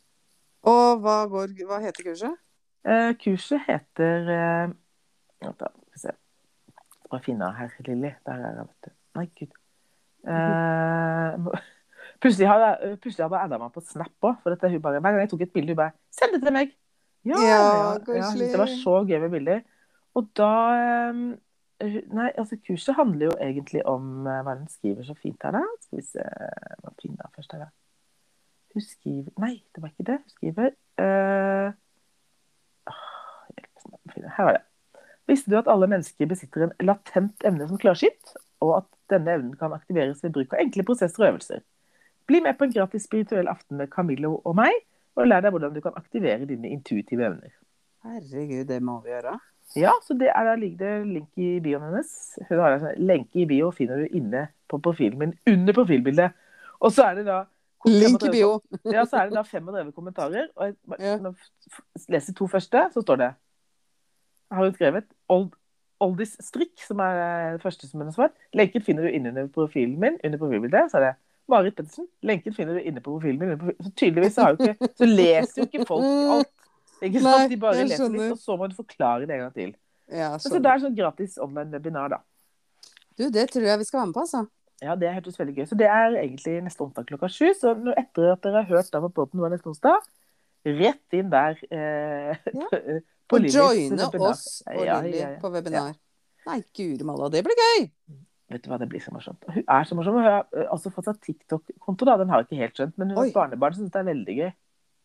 S1: Og hva, går, hva heter kurset?
S2: Eh, kurset heter eh, Vent, da. Skal vi se. Jeg Bare finne her, Lilly. Der er hun, vet du. Nei, gud. Eh, må- plutselig hadde jeg eh, plutselig hadde jeg adda meg på Snap òg. For dette, hun bare, hver gang jeg tok et bilde, hun bare 'Send det til meg!' Ja,
S1: Ja,
S2: hun
S1: koselig.
S2: syntes Det var så gøy med bilder. Og da eh, hun- Nei, altså, kurset handler jo egentlig om eh, hva er det hun skriver så fint her, da. Skal vi se hva finner jeg først her, da. Hun skriver Nei, det var ikke det. Hun skriver eh, Åh, hjelp meg å finne- Her var det. Visste du at alle mennesker besitter en latent evne som klarsynt, og at denne evnen kan aktiveres ved bruk av enkle prosesser og øvelser? Bli med på en gratis spirituell aften med Camillo og meg, og lær deg hvordan du kan aktivere dine intuitive evner.
S1: Herregud, det må vi gjøre.
S2: Ja, så det er der ligger det link i bioen hennes. Hun har en sånn lenke i bio finner du inne på profilen min under profilbildet. Og så er det da
S1: Link i bio.
S2: ja, så er det da 35 kommentarer. Og jeg bare,
S1: Ja.
S2: når jeg f- leser to første, så står det Jeg har jo skrevet Old, Oldis Strikk, som er eh, det første som hennes svar. Lenken finner du inne under profilen min. Under profilbildet så er det Marit Pettersen. Lenken finner du inne på profilen min. Under profilen. Så tydeligvis så, har jo ikke, så leser jo ikke folk alt. Ikke sant?
S1: Nei,
S2: De bare
S1: jeg
S2: leser
S1: skjønner.
S2: litt, og så må du forklare det en gang til.
S1: Ja,
S2: Men Så
S1: skjønner.
S2: det er sånn gratis online webinar, da.
S1: Du, det tror jeg vi skal være med på, altså.
S2: Ja, det hørtes veldig gøy. Så det er egentlig neste onsdag klokka sju. Så nå- etter at dere har hørt da på podden hva er neste onsdag, rett inn der eh,
S1: Ja.
S2: på, eh, på
S1: Og
S2: Lillys
S1: joine
S2: webinar.
S1: oss og
S2: Ja,
S1: Lilly
S2: ja, ja.
S1: på webinar. Nei, guri malla, det blir gøy!
S2: Vet du hva, det blir så morsomt. Hun er så morsom. og Hun har eh, også fått seg TikTok-konto, da. Den har jeg ikke helt skjønt, men hun har
S1: Oi.
S2: et barnebarn som syns det er veldig gøy.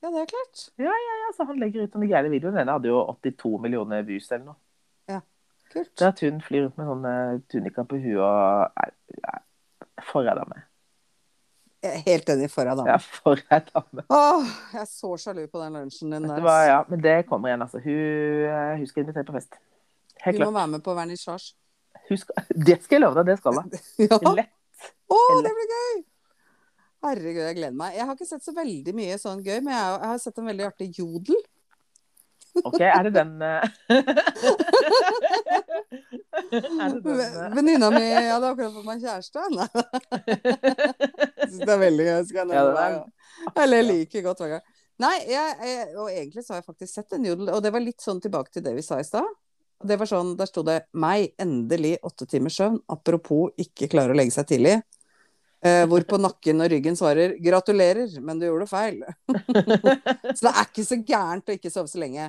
S1: Ja, det er klart.
S2: Ja, så han legger ut sånne gærne videoer. Den ene hadde jo 82 millioner views eller noe.
S1: Kult.
S2: Det at hun flyr rundt med sånne tunika på huet og er, er For ei dame.
S1: Jeg er helt enig for deg, da.
S2: Ja, for ei dame.
S1: Åh, jeg er så sjalu på den lunsjen din
S2: Vet
S1: der.
S2: du hva,
S1: ass.
S2: ja, men det kommer igjen, altså. Hun, eh, hun skal invitere på fest. Helt
S1: Du må
S2: klart.
S1: være med på vernissasje.
S2: Hun skal, det skal jeg love deg, det skal hun.
S1: Ja.
S2: Det er lett.
S1: Å, det blir gøy! Herregud, jeg gleder meg. Jeg har ikke sett så veldig mye sånn gøy, men jeg har- jeg har sett en veldig artig jodel.
S2: OK, er det den eh, Er det den eh,
S1: Ve- Venninna mi jeg hadde akkurat fått meg kjæreste. Nei. Jeg synes det er veldig gøy. Skal jeg
S2: Ja,
S1: nevne
S2: det
S1: det? Eller jeg liker godt hver gang. Nei, jeg, jeg, og egentlig så har jeg faktisk sett en jodel, og det var litt sånn tilbake til det vi sa i stad. Og Det var sånn, Der sto det 'meg, endelig åtte timers søvn', apropos ikke klare å legge seg tidlig. Eh, hvorpå nakken og ryggen svarer 'gratulerer, men du gjorde feil'. så det er ikke så gærent å ikke sove så lenge.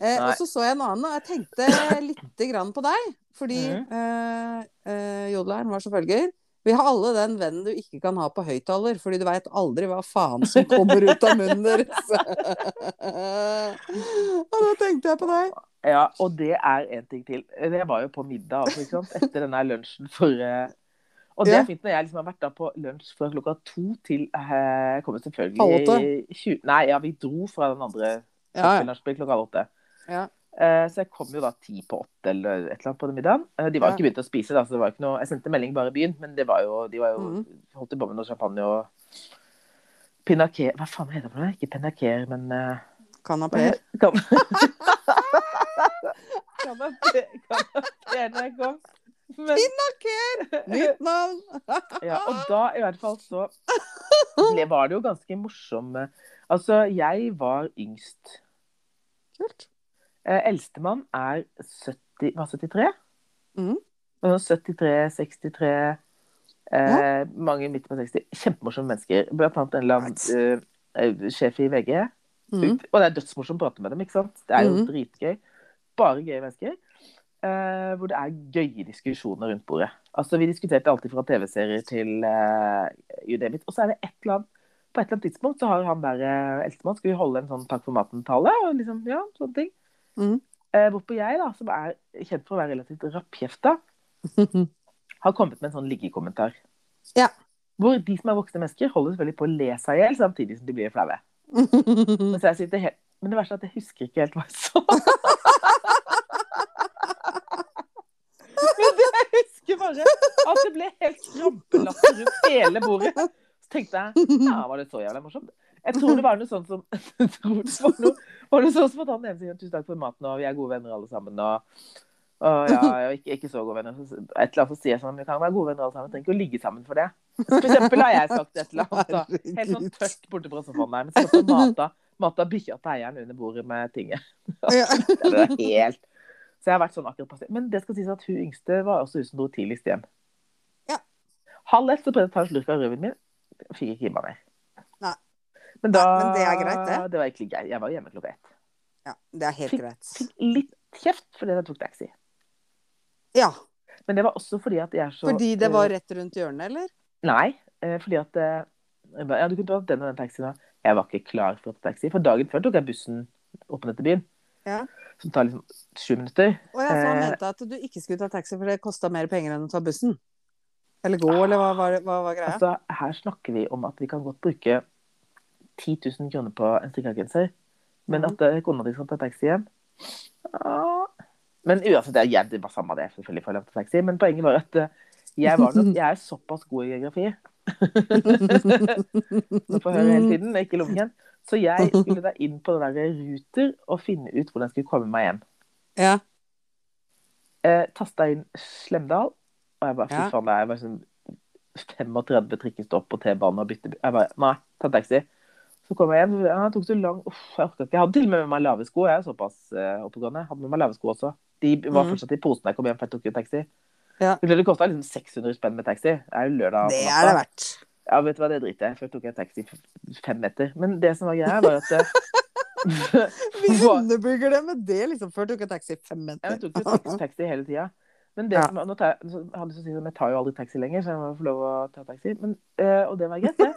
S1: Eh,
S2: Nei.
S1: og så så jeg en annen, og jeg tenkte lite grann på deg. Fordi
S2: Mhm.
S1: eh, eh, jodleren var som følger Vi har alle den vennen du ikke kan ha på høyttaler, fordi du veit aldri hva faen som kommer ut av munnen deres. og da tenkte jeg på deg.
S2: Ja, og det er en ting til. Jeg var jo på middag altså, ikke sant? etter denne lunsjen for eh, Og det
S1: Ja.
S2: er fint når jeg liksom har vært da på lunsj fra klokka to til eh, Jeg kommer
S1: Halv
S2: selvfølgelig
S1: åtte?
S2: 20 Nei, ja, vi dro fra den andre
S1: Ja,
S2: Til nachspiel klokka halv åtte.
S1: Ja.
S2: Eh, så jeg kom jo da ti på åtte eller et eller annet på den middagen. Eh, de var jo
S1: Ja.
S2: ikke begynt å spise, da, så det var jo ikke noe Jeg sendte melding bare i byen, men det var jo, de var jo
S1: Mhm.
S2: holdt jo på med noe champagne og Pinaké Hva faen heter det? for noe? Ikke pinakéer, men eh, hva
S1: Kanapeer.
S2: heter- kan- Kanapé- Kanapé når jeg kom. Men
S1: Nytt navn!
S2: ja, og da i hvert fall så eh. ble, var det jo ganske morsomme Altså, jeg var yngst.
S1: Kult.
S2: Eh, Eldstemann er 70, var 73.
S1: Mhm.
S2: Og sånn 73, 63 eh, Mange midt på 60. Kjempemorsomme mennesker. Blant annet en eller
S1: Nice.
S2: annen eh, sjef i VG.
S1: Mm.
S2: Og det er dødsmorsomt å prate med dem. ikke sant? Det er jo
S1: Mhm.
S2: dritgøy. Bare gøye mennesker. eh, hvor det er gøye diskusjoner rundt bordet. Altså, Vi diskuterte alltid fra TV-serier til uh, you name it. Og så er det et eller annet på et eller annet tidspunkt så har han der eh, eldstemann Skal vi holde en sånn takk for maten-tale? og liksom, ja, sånne ting.
S1: Mhm.
S2: Eh, hvorpå jeg, da, som er kjent for å være relativt rappkjefta,
S1: Mm.
S2: har kommet med en sånn liggekommentar.
S1: Ja.
S2: Hvor de som er voksne mennesker, holder selvfølgelig på å le seg i hjel samtidig som de blir flaue. Men, så jeg sitter helt- Men det verste er at jeg husker ikke helt hva jeg sa. Men det jeg husker bare at det ble helt krampelatter rundt hele bordet. Så tenkte jeg ja, var det så jævla morsomt? Jeg tror det var noe sånt som jeg tror det var noe, var det sånn som at han ene sier tusen takk for maten, og vi er gode venner alle sammen, og, og ja, og ikke, ikke så gode venner. Så- Et eller annet så sier jeg sånn, vi kan være gode venner alle sammen, trenger ikke å ligge sammen for det. For eksempel har jeg sagt et eller annet, da. Helt sånn
S1: Herregud.
S2: tørt borte på sofaen der, men så mata, mata bikkja til eieren under bordet med tinget.
S1: Ja.
S2: Det var helt... Så jeg har vært sånn akkurat passiv. Men det skal sies at hun yngste var også hun som dro tidligst hjem.
S1: Ja.
S2: Halv ett så prøvde jeg å ta en slurk av rødvinen min. Fikk ikke i meg mer.
S1: Nei.
S2: Men, da,
S1: Nei, men det er greit, det.
S2: var egentlig greit. Jeg var hjemme klokka ett.
S1: ja, det er helt
S2: Fikk-
S1: greit.
S2: Fikk litt kjeft fordi jeg tok taxi.
S1: Ja,
S2: Men det var også fordi at jeg er så eh,
S1: fordi det var rett rundt hjørnet, eller?
S2: Nei, eh, fordi at eh, jeg ba- Ja, du kunne tatt den og den taxien. da. Jeg var ikke klar for å ta taxi. For dagen før tok jeg bussen opp ned til byen.
S1: Ja.
S2: Som tar liksom sju minutter.
S1: Å ja, så han
S2: Eh.
S1: mente at du ikke skulle ta taxi, for det kosta mer penger enn å ta bussen? Eller gå, eller hva var, hva var greia?
S2: Altså, her snakker vi om at vi kan godt bruke 10 000 kroner på en strikkegenser,
S1: Mhm.
S2: men at eh, kona di skal ta taxi hjem Ja. Men uansett, det er jævlig bare samme det, selvfølgelig, for å ta taxi. Men poenget var at eh, jeg, var nok, jeg er såpass god i geografi Nå får jeg høre hele tiden, ikke lommekjent. Så jeg skulle da inn på den der Ruter og finne ut hvordan jeg skulle komme meg hjem.
S1: Ja.
S2: Eh, Tasta inn Slemdal, og jeg bare fy
S1: Ja.
S2: faen, det er bare sånn 35 trikkestopp på T-banen og bytte Jeg bare nei, ta taxi. Så kom jeg hjem, så, ja, det tok så lang Uff, jeg orka ikke. Jeg hadde til og med med meg lave sko, jeg er såpass eh, oppegående. Jeg Hadde med meg lave sko også. De var
S1: Mhm.
S2: fortsatt i posen da jeg kom hjem, for jeg tok jo taxi.
S1: Ja.
S2: Det kosta liksom 600 spenn med taxi. Det er jo lørdag.
S1: Det
S2: på natta.
S1: er det verdt.
S2: Ja, vet du hva, det driter jeg i. Før tok jeg taxi f- fem meter. Men det som var greia, var at eh,
S1: Vi
S2: Hva-
S1: underbygger det med det, liksom. Før tok jeg taxi fem
S2: Jeg
S1: meter.
S2: tok jo taxi- taxi hele tida. Men det
S1: Ja.
S2: som, nå tar jeg, så hadde jeg lyst til å si sånn, jeg tar jo aldri taxi lenger, så jeg må få lov å ta taxi. Men, eh, og det var greit, det.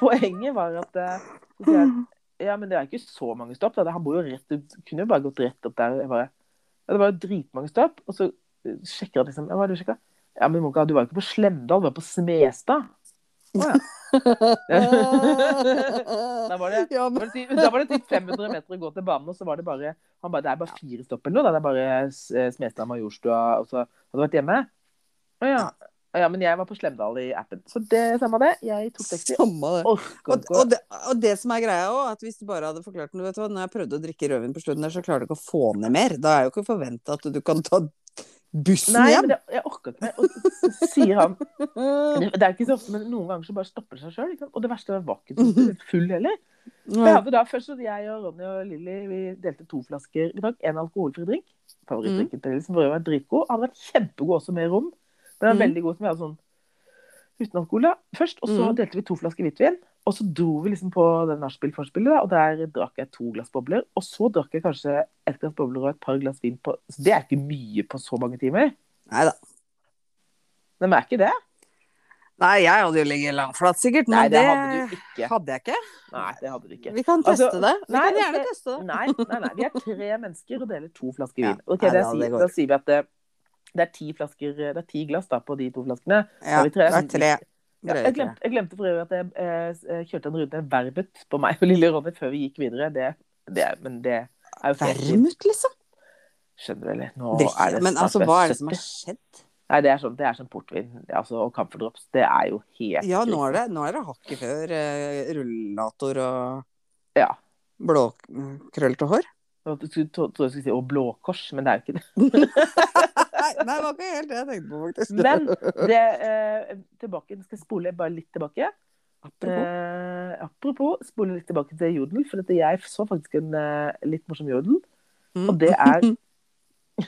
S2: Poenget var at eh, så sier jeg, Ja, men det er ikke så mange stopp. Da. Han bor jo rett ut. Kunne jo bare gått rett opp der. Jeg bare, ja, det var jo dritmange stopp. Og så eh, sjekker han liksom Ja, hva er det du sjekka? Ja, men Monka, du var jo ikke på Slemdal, du var på Smestad. Å ja. Da var det
S1: Ja,
S2: Da
S1: men
S2: var det typ- Da var det typ 500 meter å gå til banen, og så var det bare, han bare, det er bare fire stopp eller noe. da. Det er bare S- eh, Smestad, Majorstua, og så hadde du vært hjemme. Å ja. Å ja, men jeg var på Slemdal i appen. Så det samme det. Jeg tok taxi.
S1: samme det.
S2: Orka
S1: Og,
S2: ikke å
S1: og, det, og det som er greia òg, at hvis du bare hadde forklart den du vet hva, Når jeg prøvde å drikke rødvin på slutten der, så klarer du ikke å få ned mer. Da er jo ikke forventa at du kan ta bussen
S2: Nei, men
S1: hjem.
S2: det, jeg orka ikke mer. Og så sier han Det det er ikke så ofte, men noen ganger så bare stopper det seg sjøl. Og det verste var at jeg var ikke så full heller. For Jeg hadde da først, så jeg og Ronny og Lilly vi delte to flasker i dag. En alkoholfri drink. Favorittdrinken til Lilly, som for øvrig var dritgod. Hadde vært kjempegod også med rom. Den var
S1: Mm.
S2: veldig god som jeg hadde sånn uten alkohol da, først. Og så
S1: Mm.
S2: delte vi to flasker hvitvin. Og så dro vi liksom på det nachspiel-forspillet, da, og der drakk jeg to glass bobler. Og så drakk jeg kanskje ett glass bobler og et par glass vin på Så det er ikke mye på så mange timer.
S1: Nei da.
S2: Nei, Men er ikke det?
S1: Nei, jeg hadde jo ligget langflat, sikkert. Men
S2: Nei, det
S1: det
S2: hadde du ikke.
S1: hadde jeg ikke.
S2: Nei, det hadde du ikke.
S1: Vi kan teste
S2: Altså,
S1: det. Vi
S2: nei,
S1: kan gjerne
S2: altså,
S1: teste det.
S2: Nei, nei, nei. Vi er tre mennesker og deler to flasker
S1: Ja.
S2: vin. Ok,
S1: Nei,
S2: da,
S1: ja, det
S2: sier,
S1: går.
S2: da sier vi at det, det, er ti flasker, det er ti glass da, på de to flaskene.
S1: Ja,
S2: vi
S1: det
S2: tre,
S1: er
S2: sånn-
S1: tre.
S2: Ja,
S1: Drøye tre.
S2: jeg, glemte, jeg glemte for øvrig at jeg eh, s- eh, kjørte en runde verbet på meg og lille Ronny før vi gikk videre. Det, det, men det er jo fint.
S1: Vermut, liksom?
S2: Skjønner du, eller? Nå er
S1: Drikke.
S2: det
S1: Men
S2: snart
S1: altså, hva er det
S2: 70.
S1: som har skjedd?
S2: Nei, det er sånn, det er sånn portvin altså, og camphor drops. Det er jo helt
S1: Ja, nå er det, nå er det hakket før eh, rullator og
S2: Ja.
S1: blåkrøllete hår.
S2: Jeg skulle- tro- trodde jeg skulle si 'Å, blåkors', men det er jo ikke det.
S1: Nei, nei, det var ikke helt det jeg tenkte på, faktisk.
S2: Men det, eh, tilbake, jeg skal spole bare litt tilbake.
S1: Apropos.
S2: Eh, apropos, spole litt tilbake til jodel, for at jeg så faktisk en eh, litt morsom jodel.
S1: Mm.
S2: eh, Og det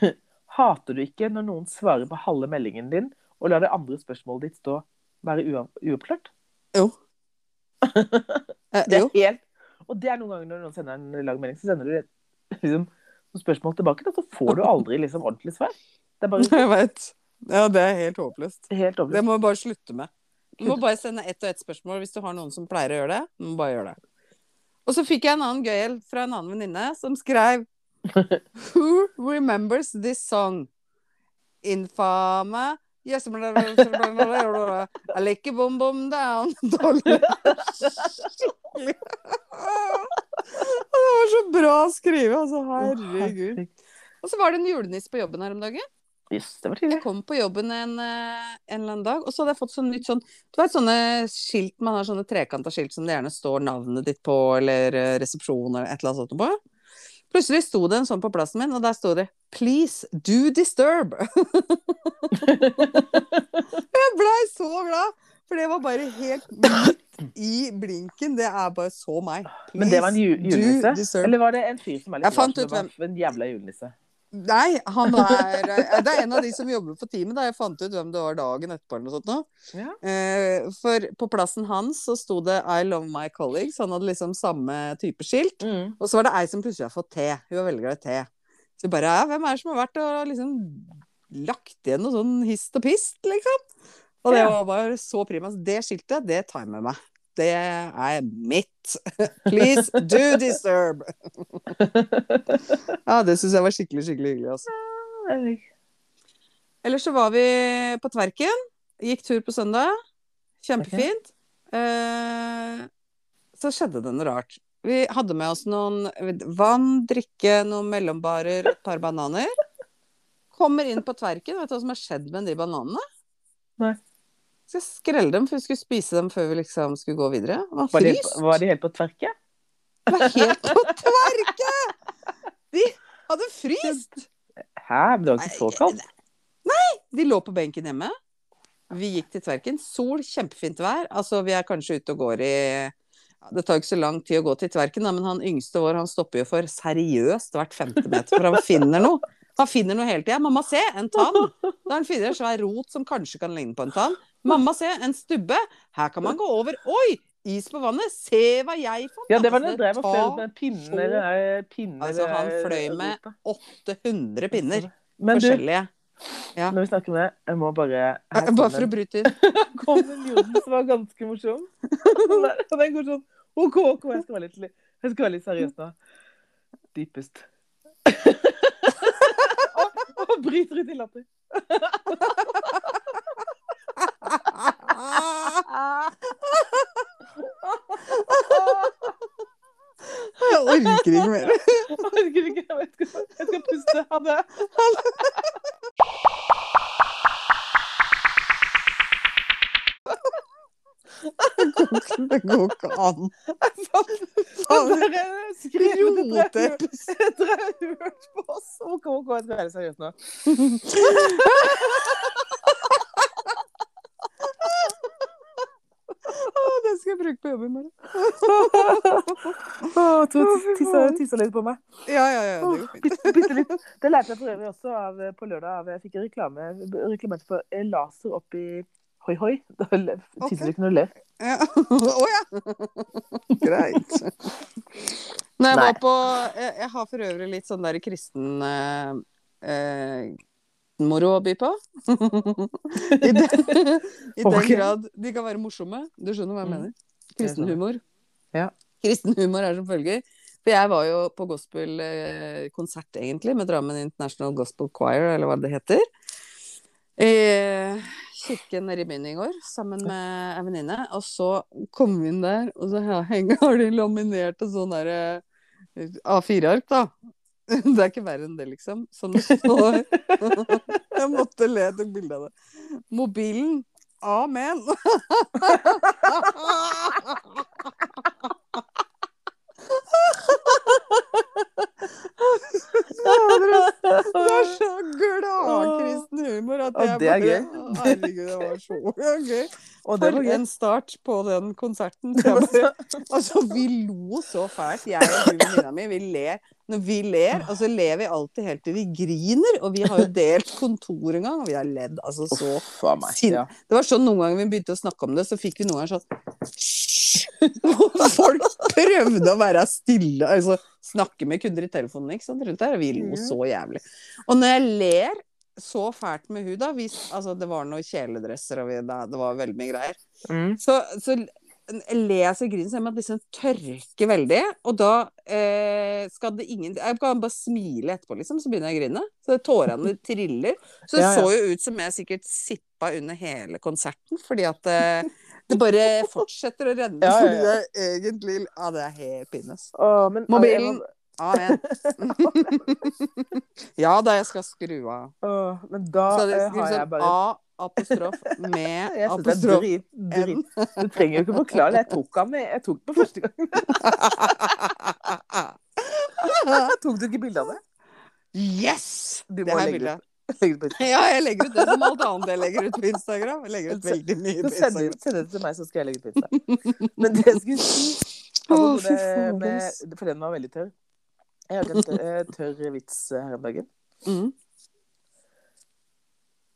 S2: er Hater du ikke når noen svarer på halve meldingen din og lar det andre spørsmålet ditt stå være ua- uoppklart?
S1: Jo. Eh,
S2: Det er
S1: jo.
S2: helt Og det er noen ganger når noen sender en lang melding, så sender du et- liksom noen spørsmål tilbake, da, så får du aldri liksom ordentlig svar. Det er bare
S1: Jeg vet. Ja, det er helt håpløst.
S2: helt
S1: Det
S2: overbevist.
S1: må vi bare slutte med. Du må bare sende ett og ett spørsmål hvis du har noen som pleier å gjøre det. Du må bare gjøre det. Og så fikk jeg en annen gøyel fra en annen venninne som skrev Who remembers this song? Infame yes, bla, bla, bla, bla, bla, bla. I like a bom bom down Dolly. Skikkelig. Det var så bra skrevet, altså. Herregud. Og så var det en julenisse på jobben her om dagen.
S2: Yes, det var
S1: Jeg
S2: tidlig.
S1: kom på jobben en, eh, en eller annen dag, og så hadde jeg fått sånn nytt sånn Du vet sånne skilt, man har sånne trekanta skilt som det gjerne står navnet ditt på, eller eh, resepsjon, eller et eller annet sånt på. Plutselig sto det en sånn på plassen min, og der sto det 'Please do disturb'. jeg blei så glad, for det var bare helt midt i blinken. Det er bare så meg.
S2: Men det var en ju-
S1: Please do
S2: julenisse?
S1: disturb.
S2: Eller var det en fyr som er litt
S1: Jeg fant
S2: rar, som
S1: ut
S2: var En jævla julenisse.
S1: Nei, han er eh, Det er en av de som jobber på teamet. Da. Jeg fant ut hvem det var dagen etterpå. eller noe sånt nå.
S2: Ja.
S1: Eh, For på plassen hans så sto det 'I love my colleagues'. Han hadde liksom samme type skilt. Og så var det ei som plutselig har fått te. Hun var veldig glad i te. Så vi bare ja, hvem er det som har vært og liksom lagt igjen noe sånn hist og pist, liksom? Og det
S2: Ja.
S1: var bare så prima. Så det skiltet, det tar jeg med meg. Det er mitt. Please do disturb. ja, det syns jeg var skikkelig, skikkelig hyggelig, altså. Ellers så var vi på Tverken. Gikk tur på søndag. Kjempefint. Eh, så skjedde det noe rart. Vi hadde med oss noen vann, drikke, noen mellombarer, et par bananer. Kommer inn på Tverken. Vet du hva som har skjedd med de bananene?
S2: Nei.
S1: Skal skrelle dem, for vi skulle spise dem før vi liksom skulle gå videre. Det var
S2: Var de,
S1: fryst.
S2: var de helt på tverke?
S1: Det var helt på Tverke! De hadde fryst!
S2: Hæ? Men det var ikke så
S1: Nei,
S2: kaldt?
S1: De lå på benken hjemme. Vi gikk til Tverken. Sol, kjempefint vær. Altså, vi er kanskje ute og går i ja, Det tar jo ikke så lang tid å gå til Tverken, da, men han yngste vår han stopper jo for seriøst hvert femte meter, for han finner noe. Han finner noe hele tida. 'Mamma, se! En tann!' Da han finner en svær rot som kanskje kan ligne på en tann. 'Mamma, se! En stubbe! Her kan man gå over! Oi! Is på vannet! Se hva jeg fant!'
S2: Ja, det var det
S1: Altså,
S2: jeg drev og
S1: ta
S2: fløy med en pinne
S1: så-
S2: eller eh, pinne
S1: Altså, han
S2: eller, eh,
S1: fløy med
S2: rota.
S1: 800 pinner.
S2: Men du,
S1: Forskjellige. ja.
S2: når vi snakker om det, jeg må bare her
S1: Bare
S2: kom
S1: for å
S2: en-
S1: bryte inn.
S2: kom en jodel som var ganske morsom. Den der- Den går sånn OK, OK, jeg skal være litt, jeg skal være litt seriøs nå. Dypest. og, og bryter ut i latter.
S1: Jeg orker ikke mer.
S2: Jeg orker ikke, jeg vet ikke. Jeg skal puste. Ha det.
S1: Det går ikke an.
S2: Den
S1: Faen,
S2: der, eh, skrevet etter jeg-
S1: Roteepisode.
S2: etter jeg har hørt på oss. OK, OK, jeg skal være litt seriøs nå.
S1: Den skal jeg bruke på jobb i morgen.
S2: Å, jeg tror jeg tissa- tissa litt på meg.
S1: Ja, ja, ja. Det går fint.
S2: Bitte, bitte litt. Det lærte jeg for øvrig også av, eh, på lørdag. Av, jeg fikk en reklame, reklamert for eh, laser opp i Hoi Hoi. Da le- tydde du ikke når du ler.
S1: Ja. Å ja! Greit. Når jeg
S2: Nei.
S1: var på jeg, jeg har for øvrig litt sånn der kristen eh, eh, moro å by på. I den, i den
S2: Ok.
S1: grad de kan være morsomme. Du skjønner hva jeg
S2: Mm.
S1: mener? Kristen
S2: skjønner.
S1: humor.
S2: Ja.
S1: Kristen humor er som følger. For jeg var jo på gospelkonsert, egentlig, med Drammen International Gospel Choir, eller hva det heter. I kirken nede i byen i går, sammen med ei venninne. Og så kom vi inn der, og så henger, har de laminerte sånn derre A4-ark, da. Det er ikke verre enn det, liksom. Som det står Jeg måtte le til bildet av det. Mobilen. Amen. Du er så glad kristen humor at
S2: Å,
S1: jeg
S2: det er
S1: bare Å, Herregud, det var så gøy.
S2: Og det var
S1: For
S2: gøy.
S1: en start på den konserten.
S2: Det var så-
S1: Altså, vi lo så fælt. Jeg og hun venninna mi, vi ler. Når vi ler, altså ler vi alltid helt til vi griner. Og vi har jo delt kontor en gang, og vi har ledd altså så
S2: Uff a meg.
S1: Sint.
S2: Ja.
S1: Det var sånn noen ganger vi begynte å snakke om det, så fikk vi noen ganger sånn Og folk prøvde å være stille, altså snakke med kunder i telefonen, ikke sant, rundt der. og Vi lo så jævlig. Og når jeg ler så fælt med hun, da hvis, Altså, det var noen kjeledresser, og vi, da, det var veldig mye greier.
S2: Mm.
S1: Så, så ler jeg så jeg griner, så jeg må liksom tørke veldig. Og da eh, skal det ingen Jeg kan bare smile etterpå, liksom, så begynner jeg å grine. Så tårene triller. Så det
S2: Ja, ja.
S1: så jo ut som jeg sikkert sippa under hele konserten, fordi at eh, det bare fortsetter å renne.
S2: Ja, ja, ja.
S1: Fordi jeg egentlig Ja, det er helt pinnes.
S2: Å, men,
S1: Mobilen. Amen. ja da, jeg skal skru av.
S2: Å, men da
S1: Så det
S2: eh, har
S1: skrives
S2: jeg
S1: sånn
S2: bare
S1: A apostrof med
S2: Jeg synes det er
S1: apostrof
S2: drit, drit.
S1: N.
S2: Du trenger jo ikke forklare det. Jeg tok han med. Jeg tok den på første gang. Tok du ikke bilde av det?
S1: Yes!
S2: Du
S1: Det
S2: må
S1: her
S2: legge
S1: bildet.
S2: Legg det på-
S1: Ja, jeg legger ut det som alt annet jeg legger ut på Instagram. Jeg legger ut veldig mye på
S2: Så send
S1: Instagram.
S2: det, send det til meg, så skal jeg legge ut pizza. Men det jeg skulle si
S1: Å,
S2: altså,
S1: fy
S2: det
S1: faen, ass.
S2: med, For den var veldig tørr. Jeg hørte en tørr, eh, tørr vits eh, her om dagen.
S1: Mm.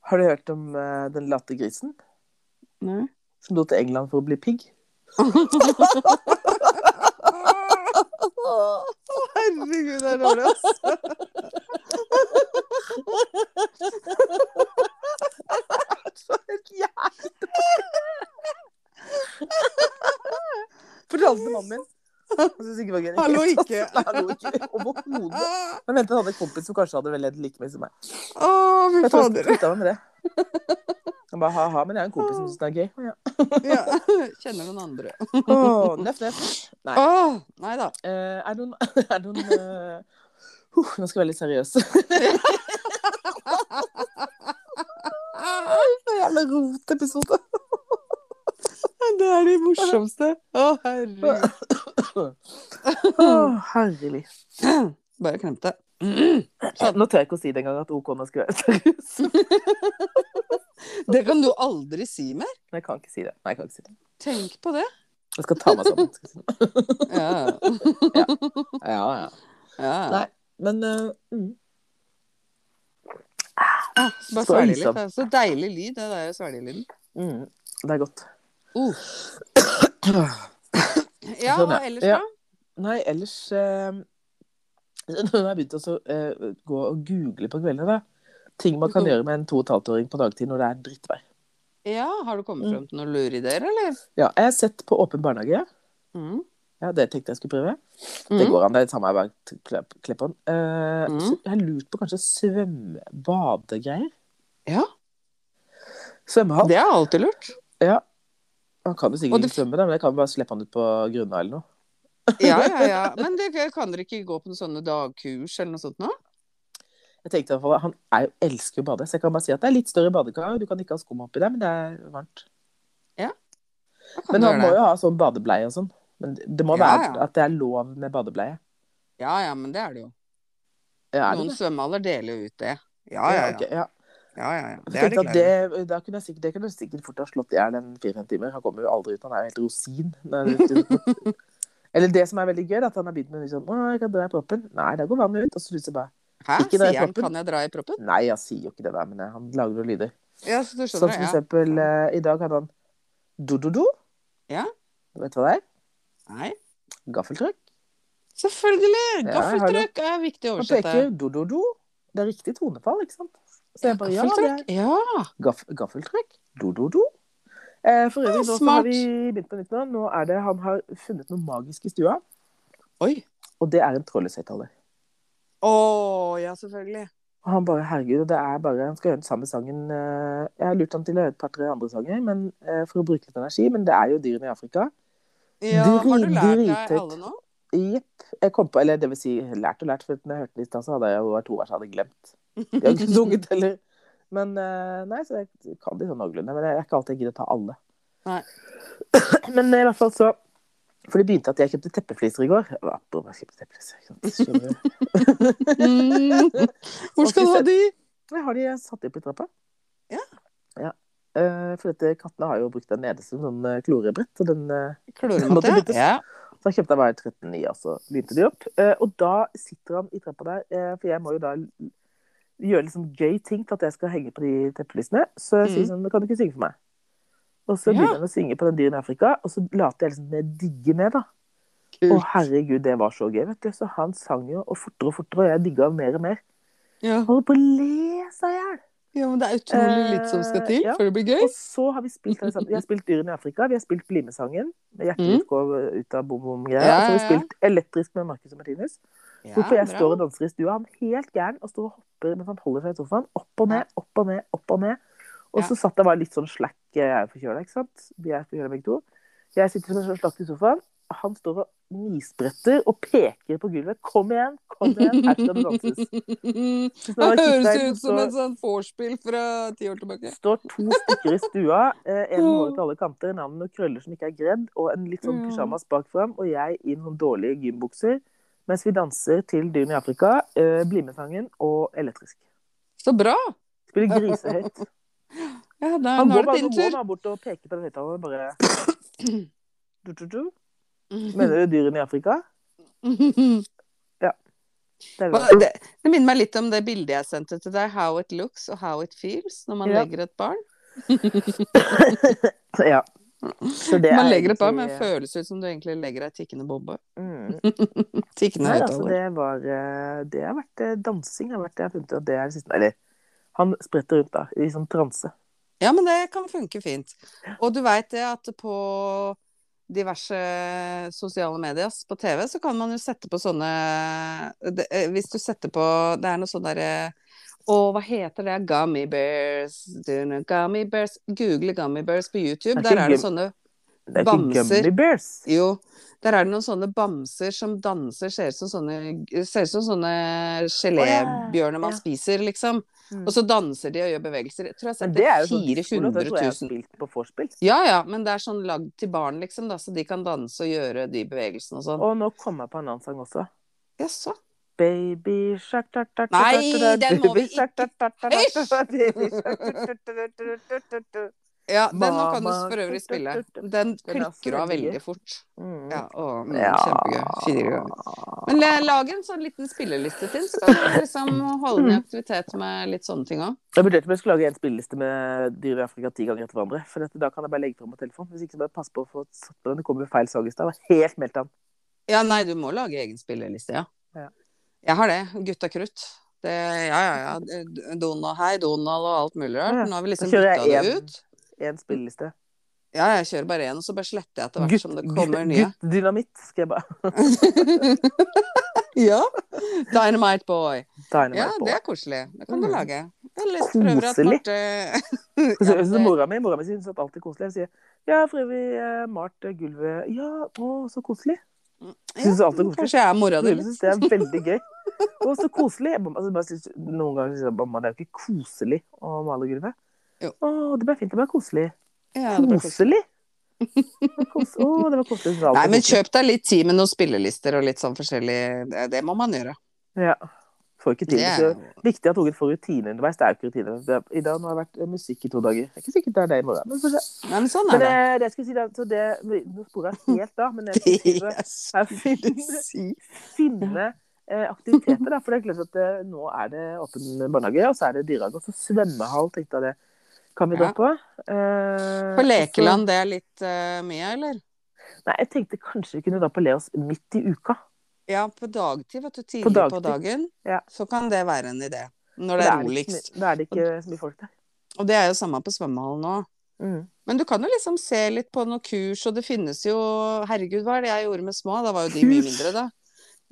S2: Har du hørt om eh, den late grisen
S1: Nei.
S2: som dro til England for å bli pigg?
S1: Herregud, det er dårlig, ass.
S2: Så helt jævlig! Fortalte mannen min. Han syntes ikke det var gøy.
S1: Hallo, ikke.
S2: Nei, hallo, ikke. Overhodet. Men vent, han hadde en kompis som kanskje hadde vel ledd like mye som meg.
S1: Å, fy
S2: Jeg tror han
S1: fader.
S2: slutta med det. Han bare ha-ha, men jeg har en kompis som syns det er gøy. Ja.
S1: Ja. Kjenner noen andre.
S2: Åh, nøff, nøff. Nei.
S1: Å, nei da.
S2: Eh, er noen, er noen eh, huh, Nå skal jeg være litt seriøs. Det er Jævla rotepisode.
S1: Det er det morsomste. Å, herregud.
S2: Å, herlig.
S1: Bare klemte.
S2: Nå tør jeg ikke å si det engang at OK nå skal jeg være seriøs.
S1: Det kan du aldri si mer.
S2: Nei, jeg kan ikke si det. Nei, jeg kan ikke si det.
S1: Tenk på det.
S2: Jeg skal ta meg sammen. Skal jeg si det.
S1: Ja,
S2: Ja, ja.
S1: ja.
S2: Nei, men eh, mm.
S1: Ah, Bare
S2: Så
S1: svelge litt.
S2: liksom.
S1: det er Så deilig lyd, det der svelgelyden.
S2: Mm. Det er godt.
S1: Uh. Ja, og
S2: Sånn, ja.
S1: ellers
S2: Ja.
S1: da?
S2: Nei, ellers eh, Når jeg begynte å eh, gå og google på kveldene, da. Ting man kan
S1: Mhm.
S2: gjøre med en to og et halvt åring på dagtid når det er drittvær.
S1: Ja, har du kommet
S2: Mm.
S1: frem til noen lurideer, eller?
S2: Ja, jeg har sett på Åpen barnehage.
S1: Mm.
S2: Ja, Det tenkte jeg skulle prøve. Det
S1: Mm.
S2: går an. Det er samme hver klepp- kleppånd. Eh,
S1: Mhm.
S2: så Jeg har lurt på kanskje svømme-badegreier.
S1: Ja,
S2: Svømmehall.
S1: Mm. det er alltid lurt.
S2: Ja. Han kan jo
S1: Og
S2: sikkert
S1: det-
S2: ikke svømme, da, men jeg kan bare slippe han ut på grunna eller noe.
S1: Ja, ja, ja. Men det, kan dere ikke gå på noen sånne dagkurs eller noe sånt nå?
S2: Jeg tenkte i hvert fall, Han er jo, elsker jo å bade, så jeg kan bare si at det er litt større badekar. Du kan ikke ha skum oppi der, men det er varmt.
S1: Da kan
S2: Men
S1: du
S2: han
S1: gjøre
S2: må
S1: det.
S2: jo ha sånn badebleie og sånn. Men det- det må
S1: Ja,
S2: være
S1: ja.
S2: at det er lov med badebleie.
S1: Ja, ja, men det er det jo.
S2: Ja, er det
S1: Noen
S2: det?
S1: svømmehaller deler jo ut det. Ja, ja,
S2: ok,
S1: ja.
S2: ja.
S1: ja, ja, ja.
S2: Jeg
S1: Det er
S2: tenkte
S1: det
S2: Altså, at
S1: klare.
S2: det, da kunne jeg sikkert, det kunne jeg sikkert fort ha slått i hjel en fire-fem timer. Han kommer jo aldri ut. Han er jo helt rosin. Nei, det- Eller det som er veldig gøy, er at han har begynt med sånn Å, jeg kan dra i proppen. Nei, da går vannet ut. Og så plutselig bare
S1: Hæ,
S2: ikke
S1: sier
S2: dra i
S1: han,
S2: proppen.
S1: kan jeg dra i proppen?
S2: Nei, han sier jo ikke det der, men eh, han lager noen lyder.
S1: Ja, så du
S2: Sånn som
S1: skjønner
S2: for
S1: det, ja.
S2: eksempel eh, i dag hadde han do-do-do.
S1: Ja.
S2: Vet du hva det er?
S1: Nei,
S2: Gaffeltrykk.
S1: selvfølgelig!
S2: Ja,
S1: Gaffeltrykk er viktig å
S2: Han
S1: oversette.
S2: peker do-do-do. Det er riktig tonefall, ikke sant? Så jeg bare ja, det er
S1: Gaffeltrykk? Ja.
S2: Gaff gaffeltrekk. Do-do-do. Eh, for øvrig,
S1: Ah,
S2: nå så
S1: smart.
S2: har vi begynt på nytt nå. Nå er det han har funnet noe magisk i stua,
S1: Oi.
S2: og det er en trådløshøyttaler.
S1: Å, ja, selvfølgelig.
S2: Og han bare herregud, og det er bare Han skal gjøre den samme sangen eh, Jeg har lurt han til å gjøre et par-tre andre sanger men, eh, for å bruke litt energi, men det er jo dyrene i Afrika.
S1: Ja, har du
S2: Drit-
S1: lært deg
S2: dritet.
S1: alle nå?
S2: Jepp. Jeg kom på, eller det vil si lært og lært, for når jeg hørte den i stad, så hadde jeg jo vært to år, så hadde jeg glemt. Jeg har ikke sunget heller. Men eh, nei, så jeg kan de sånn noenlunde. Men det er ikke alltid jeg gidder å ta alle.
S1: Nei.
S2: Men eh, i hvert fall så For det begynte at jeg kjøpte teppefliser i går. Apropos, jeg kjøpte teppefliser. ikke sant? Skjønner du?
S1: Mm. Hvor skal du ha de?
S2: Jeg har de satt opp i trappa.
S1: Ja.
S2: Ja. Eh, for dette, kattene har jo brukt den nede som sånn eh, klorebrett. Og den, eh,
S1: Klorematte,
S2: Måtte byttes.
S1: ja.
S2: så han kjøpte jeg bare 13,9, og så begynte de opp. Eh, og da sitter han i trappa der, eh, for jeg må jo da l- gjøre litt sånn gøy ting for at jeg skal henge på de teppelysene. Så jeg sier
S1: Mhm.
S2: sånn, kan du ikke synge for meg? Og så
S1: Ja.
S2: begynner han å synge på den dyren i Afrika, og så later jeg liksom det digge med, da. Å
S1: Kult.
S2: herregud, det var så gøy, vet du. Så han sang jo, og fortere og fortere, og jeg digga mer og mer.
S1: Ja.
S2: Holdt på å le seg i hjel.
S1: ja, men det er utrolig litt som skal til
S2: Eh, ja.
S1: før det blir gøy.
S2: Og så har vi spilt alle sammen. Vi har spilt Dyrene i Afrika, vi har spilt Blimesangen med
S1: Mm.
S2: hjertet går ut av bom-bom-greier.
S1: Ja,
S2: og så har vi
S1: ja, ja.
S2: spilt Elektrisk med Marcus og Martinus.
S1: Ja,
S2: Hvorfor jeg
S1: bra.
S2: står og danser i stua. Han er helt gæren og står og hopper mens han holder seg i sofaen. Opp og ned, opp og ned, opp og ned. Og så satt jeg bare litt sånn slack, jeg er forkjøla, ikke sant. Vi er forkjøla begge to. Jeg sitter som en sånn slakt i sofaen. Han står og nispretter og peker på gulvet. Kom igjen, kom igjen, her skal det danses.
S1: Det
S2: Så da sitter
S1: høres
S2: jeg
S1: ut som
S2: og-
S1: et sånn vorspiel fra ti år tilbake.
S2: står to stykker i stua. eh, En med hår til alle kanter, en annen med krøller som ikke er gredd, og en litt sånn
S1: Ja.
S2: pysjamas bak fram, og jeg i noen dårlige gymbukser. Mens vi danser til Dyrene i Afrika, eh, Blimesangen og Elektrisk.
S1: Så bra!
S2: Spiller grisehøyt.
S1: Ja, da,
S2: Han
S1: nå er
S2: går
S1: det
S2: bare, nå
S1: din
S2: går
S1: tur.
S2: bare bort og peker på den høyttaleren og bare du, du, du. Mener du Dyrene i Afrika? Det er det.
S1: Hva- Det, det minner meg litt om det bildet jeg sendte til deg. How it looks og how it feels når man
S2: Ja.
S1: legger et barn.
S2: Ja. Så det
S1: Man
S2: er
S1: legger et barn, men
S2: egentlig-
S1: det føles ut som du egentlig legger ei tikkende bombe.
S2: Mm.
S1: Tikkende
S2: Nei, altså,
S1: høyttaler.
S2: det var eh, Det har vært eh, dansing. Har vært, det jeg har funnet ut at det er det siste Eller han spretter rundt, da, i sånn transe.
S1: Ja, men det kan funke fint. Og du veit det at på diverse sosiale medier, s- på TV, så kan man jo sette på sånne det, eh, Hvis du setter på Det er noe sånn derre Å, hva heter det? Gummy bears. Do you know Gummy bears. Google gummy bears på YouTube. Der
S2: Det er ikke
S1: er det
S2: gum-
S1: sånne
S2: Det er ikke
S1: Bamser.
S2: Gummy Bears.
S1: Jo, der er det noen sånne bamser som danser, ser ut som sånne, ser ut som sånne gelébjørner man
S2: ja.
S1: spiser, liksom.
S2: Mm.
S1: Og så danser de og gjør bevegelser. Jeg tror jeg har
S2: Men
S1: sett
S2: det
S1: det
S2: er jo sånn
S1: 400
S2: disko, da, det tror jeg jeg
S1: 000.
S2: har spilt på vorspiel.
S1: Ja ja, men det er sånn lagd til barn, liksom, da, så de kan danse og gjøre de bevegelsene og sånn.
S2: Og nå kom jeg på en annen sang også.
S1: Jaså?
S2: Baby shark ta, ta, ta, ta,
S1: Nei,
S2: ta, ta,
S1: den må vi
S2: baby shark, ta, ta, ta, ta, ta, ta, baby shark, ta, ta, ta, ta, ta, ta, ta.
S1: Ja, den nå kan du
S2: Mama,
S1: for øvrig spille.
S2: tut, tut,
S1: Den
S2: tut. Den er
S1: klikker du av
S2: veldig gøy.
S1: veldig fort.
S2: Mm.
S1: Ja, å, mm,
S2: Ja.
S1: kjempegøy. Fire ganger. Men eh, lag en sånn liten spilleliste til, så kan du liksom holde
S2: Mm.
S1: den i aktivitet med litt sånne ting òg.
S2: Jeg vurderte om jeg skulle lage en spilleliste med Dyr i Afrika ti ganger etter hverandre. For dette, da kan jeg bare legge fram på telefonen. Hvis ikke så må jeg passe på å få satt på den. Det kommer feil sang i stad. Jeg var Helt meldt an.
S1: Ja, nei, du må lage egen spilleliste, ja.
S2: Ja.
S1: Jeg har det. Gutta krutt. Det, ja, ja, ja. Donald, hei, Donald og alt mulig rart.
S2: Ja.
S1: Nå har vi liksom
S2: Da kjører
S1: bytta
S2: jeg
S1: det
S2: en.
S1: ut.
S2: En spilleliste.
S1: Ja, jeg kjører bare én, og så bare sletter jeg etter hvert
S2: Gutt,
S1: som det
S2: gutt,
S1: kommer nye.
S2: gutt dynamitt, skal jeg bare
S1: ja. Dynamite Boy.
S2: tegne
S1: Ja,
S2: meg på.
S1: det er koselig. Det kan du
S2: Mm.
S1: lage. Eller for øvrig at
S2: Koselig.
S1: Marte
S2: Så,
S1: Ja,
S2: så
S1: det-
S2: mora mi mora mi syns at alt er koselig. Jeg sier ja, for øvrig eh, malt eh, gulvet Ja, å, så koselig. Synes du alt er koselig?
S1: Kanskje jeg er mora di?
S2: Mora mi syns det er veldig gøy. Å, så koselig. Mamma- Altså, bare synes, noen ganger sier jeg, mamma det er jo ikke koselig å male gulvet.
S1: Jo.
S2: Å, det ble fint. Det ble koselig.
S1: Ja, det blir koselig.
S2: Koselig? Det var kos- Å, det var koselig. Det var
S1: Nei,
S2: alltid
S1: men
S2: koselig.
S1: kjøp deg litt tid med noen spillelister og litt sånn forskjellig Det, det må man gjøre.
S2: Ja. Får ikke til.
S1: Det er
S2: Så viktig at ungen får rutine underveis. Det er jo ikke rutine. Det er- I dag nå har det vært eh, musikk i to dager. Det er ikke sikkert det er det i morgen. Men, men,
S1: Nei, men sånn
S2: men
S1: er det.
S2: eh, det jeg skulle si da, så det, Nå sporer jeg helt av, men jeg skulle si det,
S1: Yes.
S2: er å finne,
S1: Si.
S2: finne eh, aktiviteter. Da. For det er klart at eh, nå er det åpen barnehage, og så er det dyrehage. Og så svømmehall, tenkte jeg det. Kan vi dra
S1: Ja.
S2: på? Eh,
S1: På Lekeland, det er litt eh, mye, eller?
S2: og så- Nei, jeg tenkte kanskje vi kunne dra på Leos midt i uka.
S1: Ja, på dagtid, vet du. Tidlig
S2: På
S1: på,
S2: dagtid.
S1: dagen.
S2: Ja.
S1: Så kan det være en idé. Når det er
S2: For det ikke
S1: roligst.
S2: så mye- Da er det ikke så mye folk der.
S1: Og det er jo samme på svømmehallen òg.
S2: Mm.
S1: Men du kan jo liksom se litt på noen kurs, og det finnes jo Herregud, hva er det jeg gjorde med små? Da var jo de mye
S2: Kurs?
S1: mindre, da.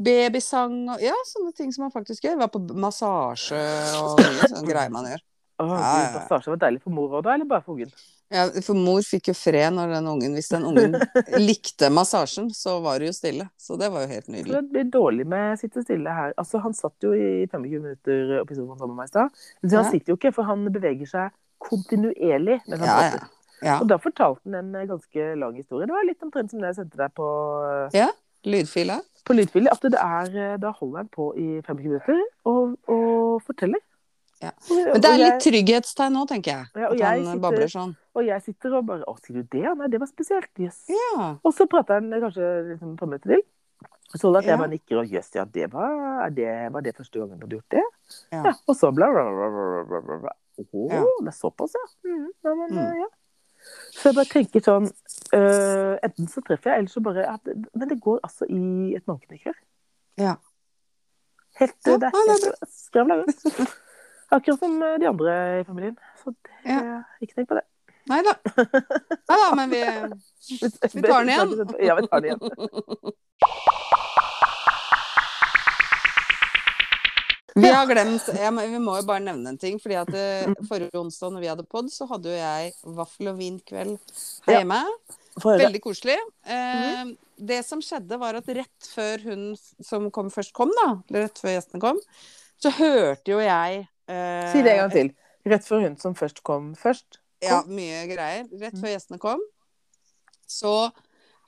S1: Babysang og ja, sånne ting som man faktisk gjør. Var på massasje og mye sånn greier man gjør.
S2: Å,
S1: Ja, ja,
S2: Gud,
S1: ja.
S2: Massasje var deilig for mor òg, da? Eller bare for ungen?
S1: Ja, for mor fikk jo fred når den ungen Hvis den ungen likte massasjen, så var det jo stille. Så det var jo helt
S2: Så
S1: nydelig.
S2: Det blir dårlig med å sitte stille her. Altså, han satt jo i 25 minutter oppi sofaen sammen med meg i stad. Men
S1: Ja.
S2: han sitter jo ikke, for han beveger seg kontinuerlig. mens han
S1: Ja,
S2: prater.
S1: ja. ja.
S2: Og da fortalte han en eh, ganske lang historie. Det var litt omtrent som det jeg sendte deg på, eh,
S1: Lydfila.
S2: på lydfil. At det er, eh, da holder han på i 25 minutter og, og forteller.
S1: Ja.
S2: Og-
S1: Men det
S2: og
S1: er
S2: jeg-
S1: litt trygghetstegn nå, tenker jeg.
S2: Ja, og
S1: At
S2: jeg
S1: han
S2: sitter-
S1: babler sånn.
S2: Og jeg sitter og bare Å, sier du det? Nei, det var spesielt. Jøss.
S1: Ja.
S2: Og så prater han kanskje liksom, et par minutter til. Så holder han at
S1: Ja.
S2: jeg bare nikker og jøss, ja, det var, er det var det første gangen du hadde gjort det?
S1: Ja.
S2: Ja. og så bla, bla, bla, bla, bla, bla, bla. Å,
S1: Ja.
S2: det er såpass, ja. Mhm, ja, men,
S1: Mm.
S2: ja. Så jeg bare tenker sånn øh, Enten så treffer jeg, eller så bare at, Men det går altså i et mankeknekk her.
S1: Ja.
S2: Helt
S1: Ja,
S2: øh, Det
S1: ja,
S2: er
S1: det
S2: helt skravla ut. Akkurat som øh, de andre i familien. Så det, ikke tenk på det.
S1: Nei da. Nei da, men vi
S2: Vi
S1: tar den igjen.
S2: Ja, vi tar den igjen.
S1: Vi har glemt ja, men Vi må jo bare nevne en ting. Fordi at eh, Forrige onsdag når vi hadde pod, så hadde jo jeg vaffel og vin-kveld her
S2: Ja. Mm.
S1: hjemme.
S2: Få høre.
S1: Veldig koselig. Eh, Det som skjedde, var at rett før hun f- som kom først kom, da, eller rett før gjestene kom, så hørte jo jeg eh,
S2: Si det en gang til. Rett før hun som først kom først.
S1: Ja, mye greier. Rett
S2: Mm.
S1: før gjestene kom, så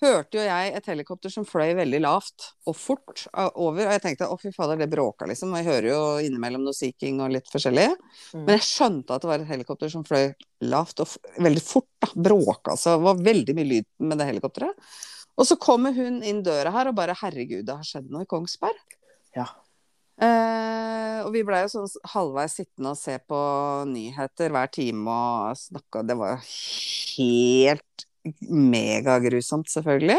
S1: hørte jo jeg et helikopter som fløy veldig lavt og fort eh, over. Og jeg tenkte å fy fader, det bråka liksom. Og jeg hører jo innimellom noe seeking og litt forskjellig.
S2: Mm.
S1: Men jeg skjønte at det var et helikopter som fløy lavt og f veldig fort. da, Bråka altså. Det var veldig mye lyd med det helikopteret. Og så kommer hun inn døra her og bare herregud, det har skjedd noe i Kongsberg.
S2: Ja.
S1: Eh, og vi blei jo sånn halvveis sittende og se på nyheter hver time og snakka Det var jo helt megagrusomt, selvfølgelig.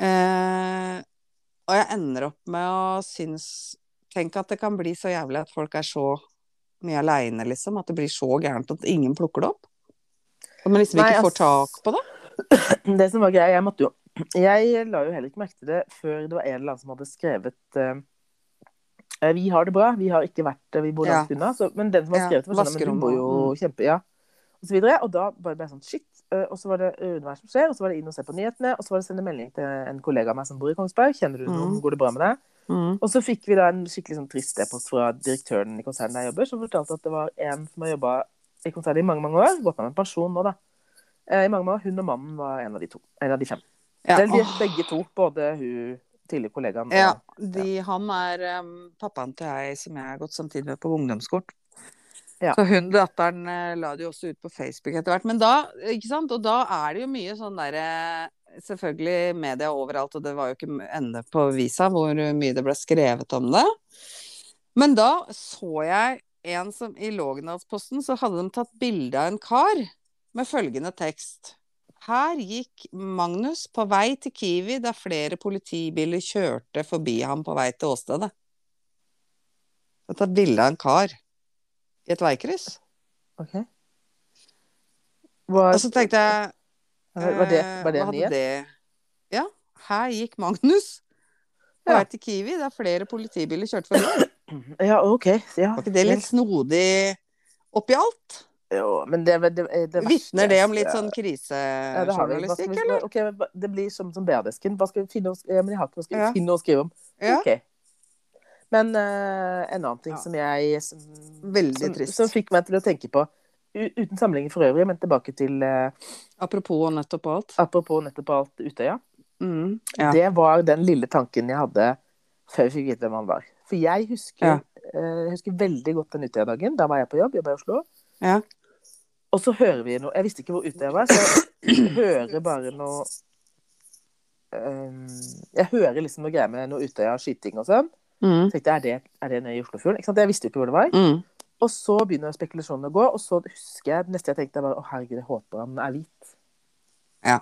S1: Eh, og jeg ender opp med å synes Tenk at det kan bli så jævlig at folk er så mye aleine, liksom. At det blir så gærent at ingen plukker det opp. At man liksom
S2: Nei,
S1: ikke får
S2: ass.
S1: tak på det.
S2: Det som var greia, jeg måtte jo Jeg la jo heller ikke merke til det før det var en eller annen som hadde skrevet eh, Vi har det bra, vi har ikke vært eh, Vi bor langt unna. Så, men den som har
S1: Ja,
S2: skrevet det, var sånn «Ja, Men
S1: vaskerommet
S2: du bor jo kjempe... Ja. Og så videre. Og da bare ble jeg sånn shit. eh, og så var det underveis som skjer, og så var det inn og se på nyhetene, og så var det sende melding til en kollega av meg som bor i Kongsberg. Kjenner du
S1: Mm.
S2: noen? Går det bra med deg? Og så fikk vi da en skikkelig sånn trist e-post fra direktøren i konsernet der jeg jobber, som fortalte at det var en som har jobba i konsernet i mange mange år, gått av med pensjon nå, da. Eh, I mange mange år. Hun og mannen var en av de to. En av de fem.
S1: Ja.
S2: Eller de,
S1: åh.
S2: begge to. Både hun tidligere kollegaen og
S1: Ja, de, han er em, pappaen til ei som jeg har gått samtidig med på ungdomsskolen.
S2: Ja.
S1: Så hun datteren eh, la det jo også ut på Facebook etter hvert. Men da, ikke sant, og da er det jo mye sånn derre Selvfølgelig media overalt, og det var jo ikke ende på visa hvor mye det ble skrevet om det. Men da så jeg en som i Lågendalsposten så hadde de tatt bilde av en kar med følgende tekst. Her gikk Magnus på vei til Kiwi da flere politibiler kjørte forbi ham på vei til åstedet. Det er tatt bilde av en kar i et veikryss.
S2: Ok. Var,
S1: Og så tenkte jeg
S2: var det, var det
S1: eh,
S2: en
S1: hadde
S2: nyhet?
S1: det- Ja. Her gikk Magnus på
S2: Ja.
S1: vei til Kiwi da flere politibiler kjørte forbi.
S2: Ja, OK. Ja.
S1: Var ikke det litt snodig oppi alt?
S2: Jo, men det, det, det, det
S1: Vitner det om litt
S2: Ja.
S1: sånn
S2: Ja, det har vi. Hva skal
S1: krisejournalistikk,
S2: vi-
S1: eller?
S2: ok, men hva- det blir som, som BA-desken. Hva skal vi finne å, sk- ja, men jeg har ikke noe å skrive,
S1: Ja.
S2: finne noe å skrive om.
S1: Ja.
S2: Ok. Men eh, en annen ting
S1: Ja.
S2: som jeg som,
S1: Veldig
S2: som,
S1: trist.
S2: som fikk meg til å tenke på, u- uten sammenligning for øvrig, men tilbake til eh,
S1: Apropos nettopp alt.
S2: apropos nettopp alt Utøya,
S1: Mm, ja.
S2: det var den lille tanken jeg hadde før vi fikk vite hvem han var. For jeg husker,
S1: Ja.
S2: eh, jeg husker veldig godt den Utøya-dagen. Da var jeg på jobb, jobba i Oslo.
S1: Ja.
S2: Og så hører vi noe Jeg visste ikke hvor ute jeg var, så jeg hører bare noe øhm, Jeg hører liksom noe greier med noe Utøya skyting og sånn.
S1: Mm.
S2: Så tenkte jeg, er det, er det nede i Oslofjorden? Ikke sant? Jeg visste jo ikke hvor det var.
S1: Mm.
S2: Og så begynner spekulasjonene å gå, og så husker jeg det neste jeg tenkte, var å herregud, jeg håper han er hvit.
S1: Ja.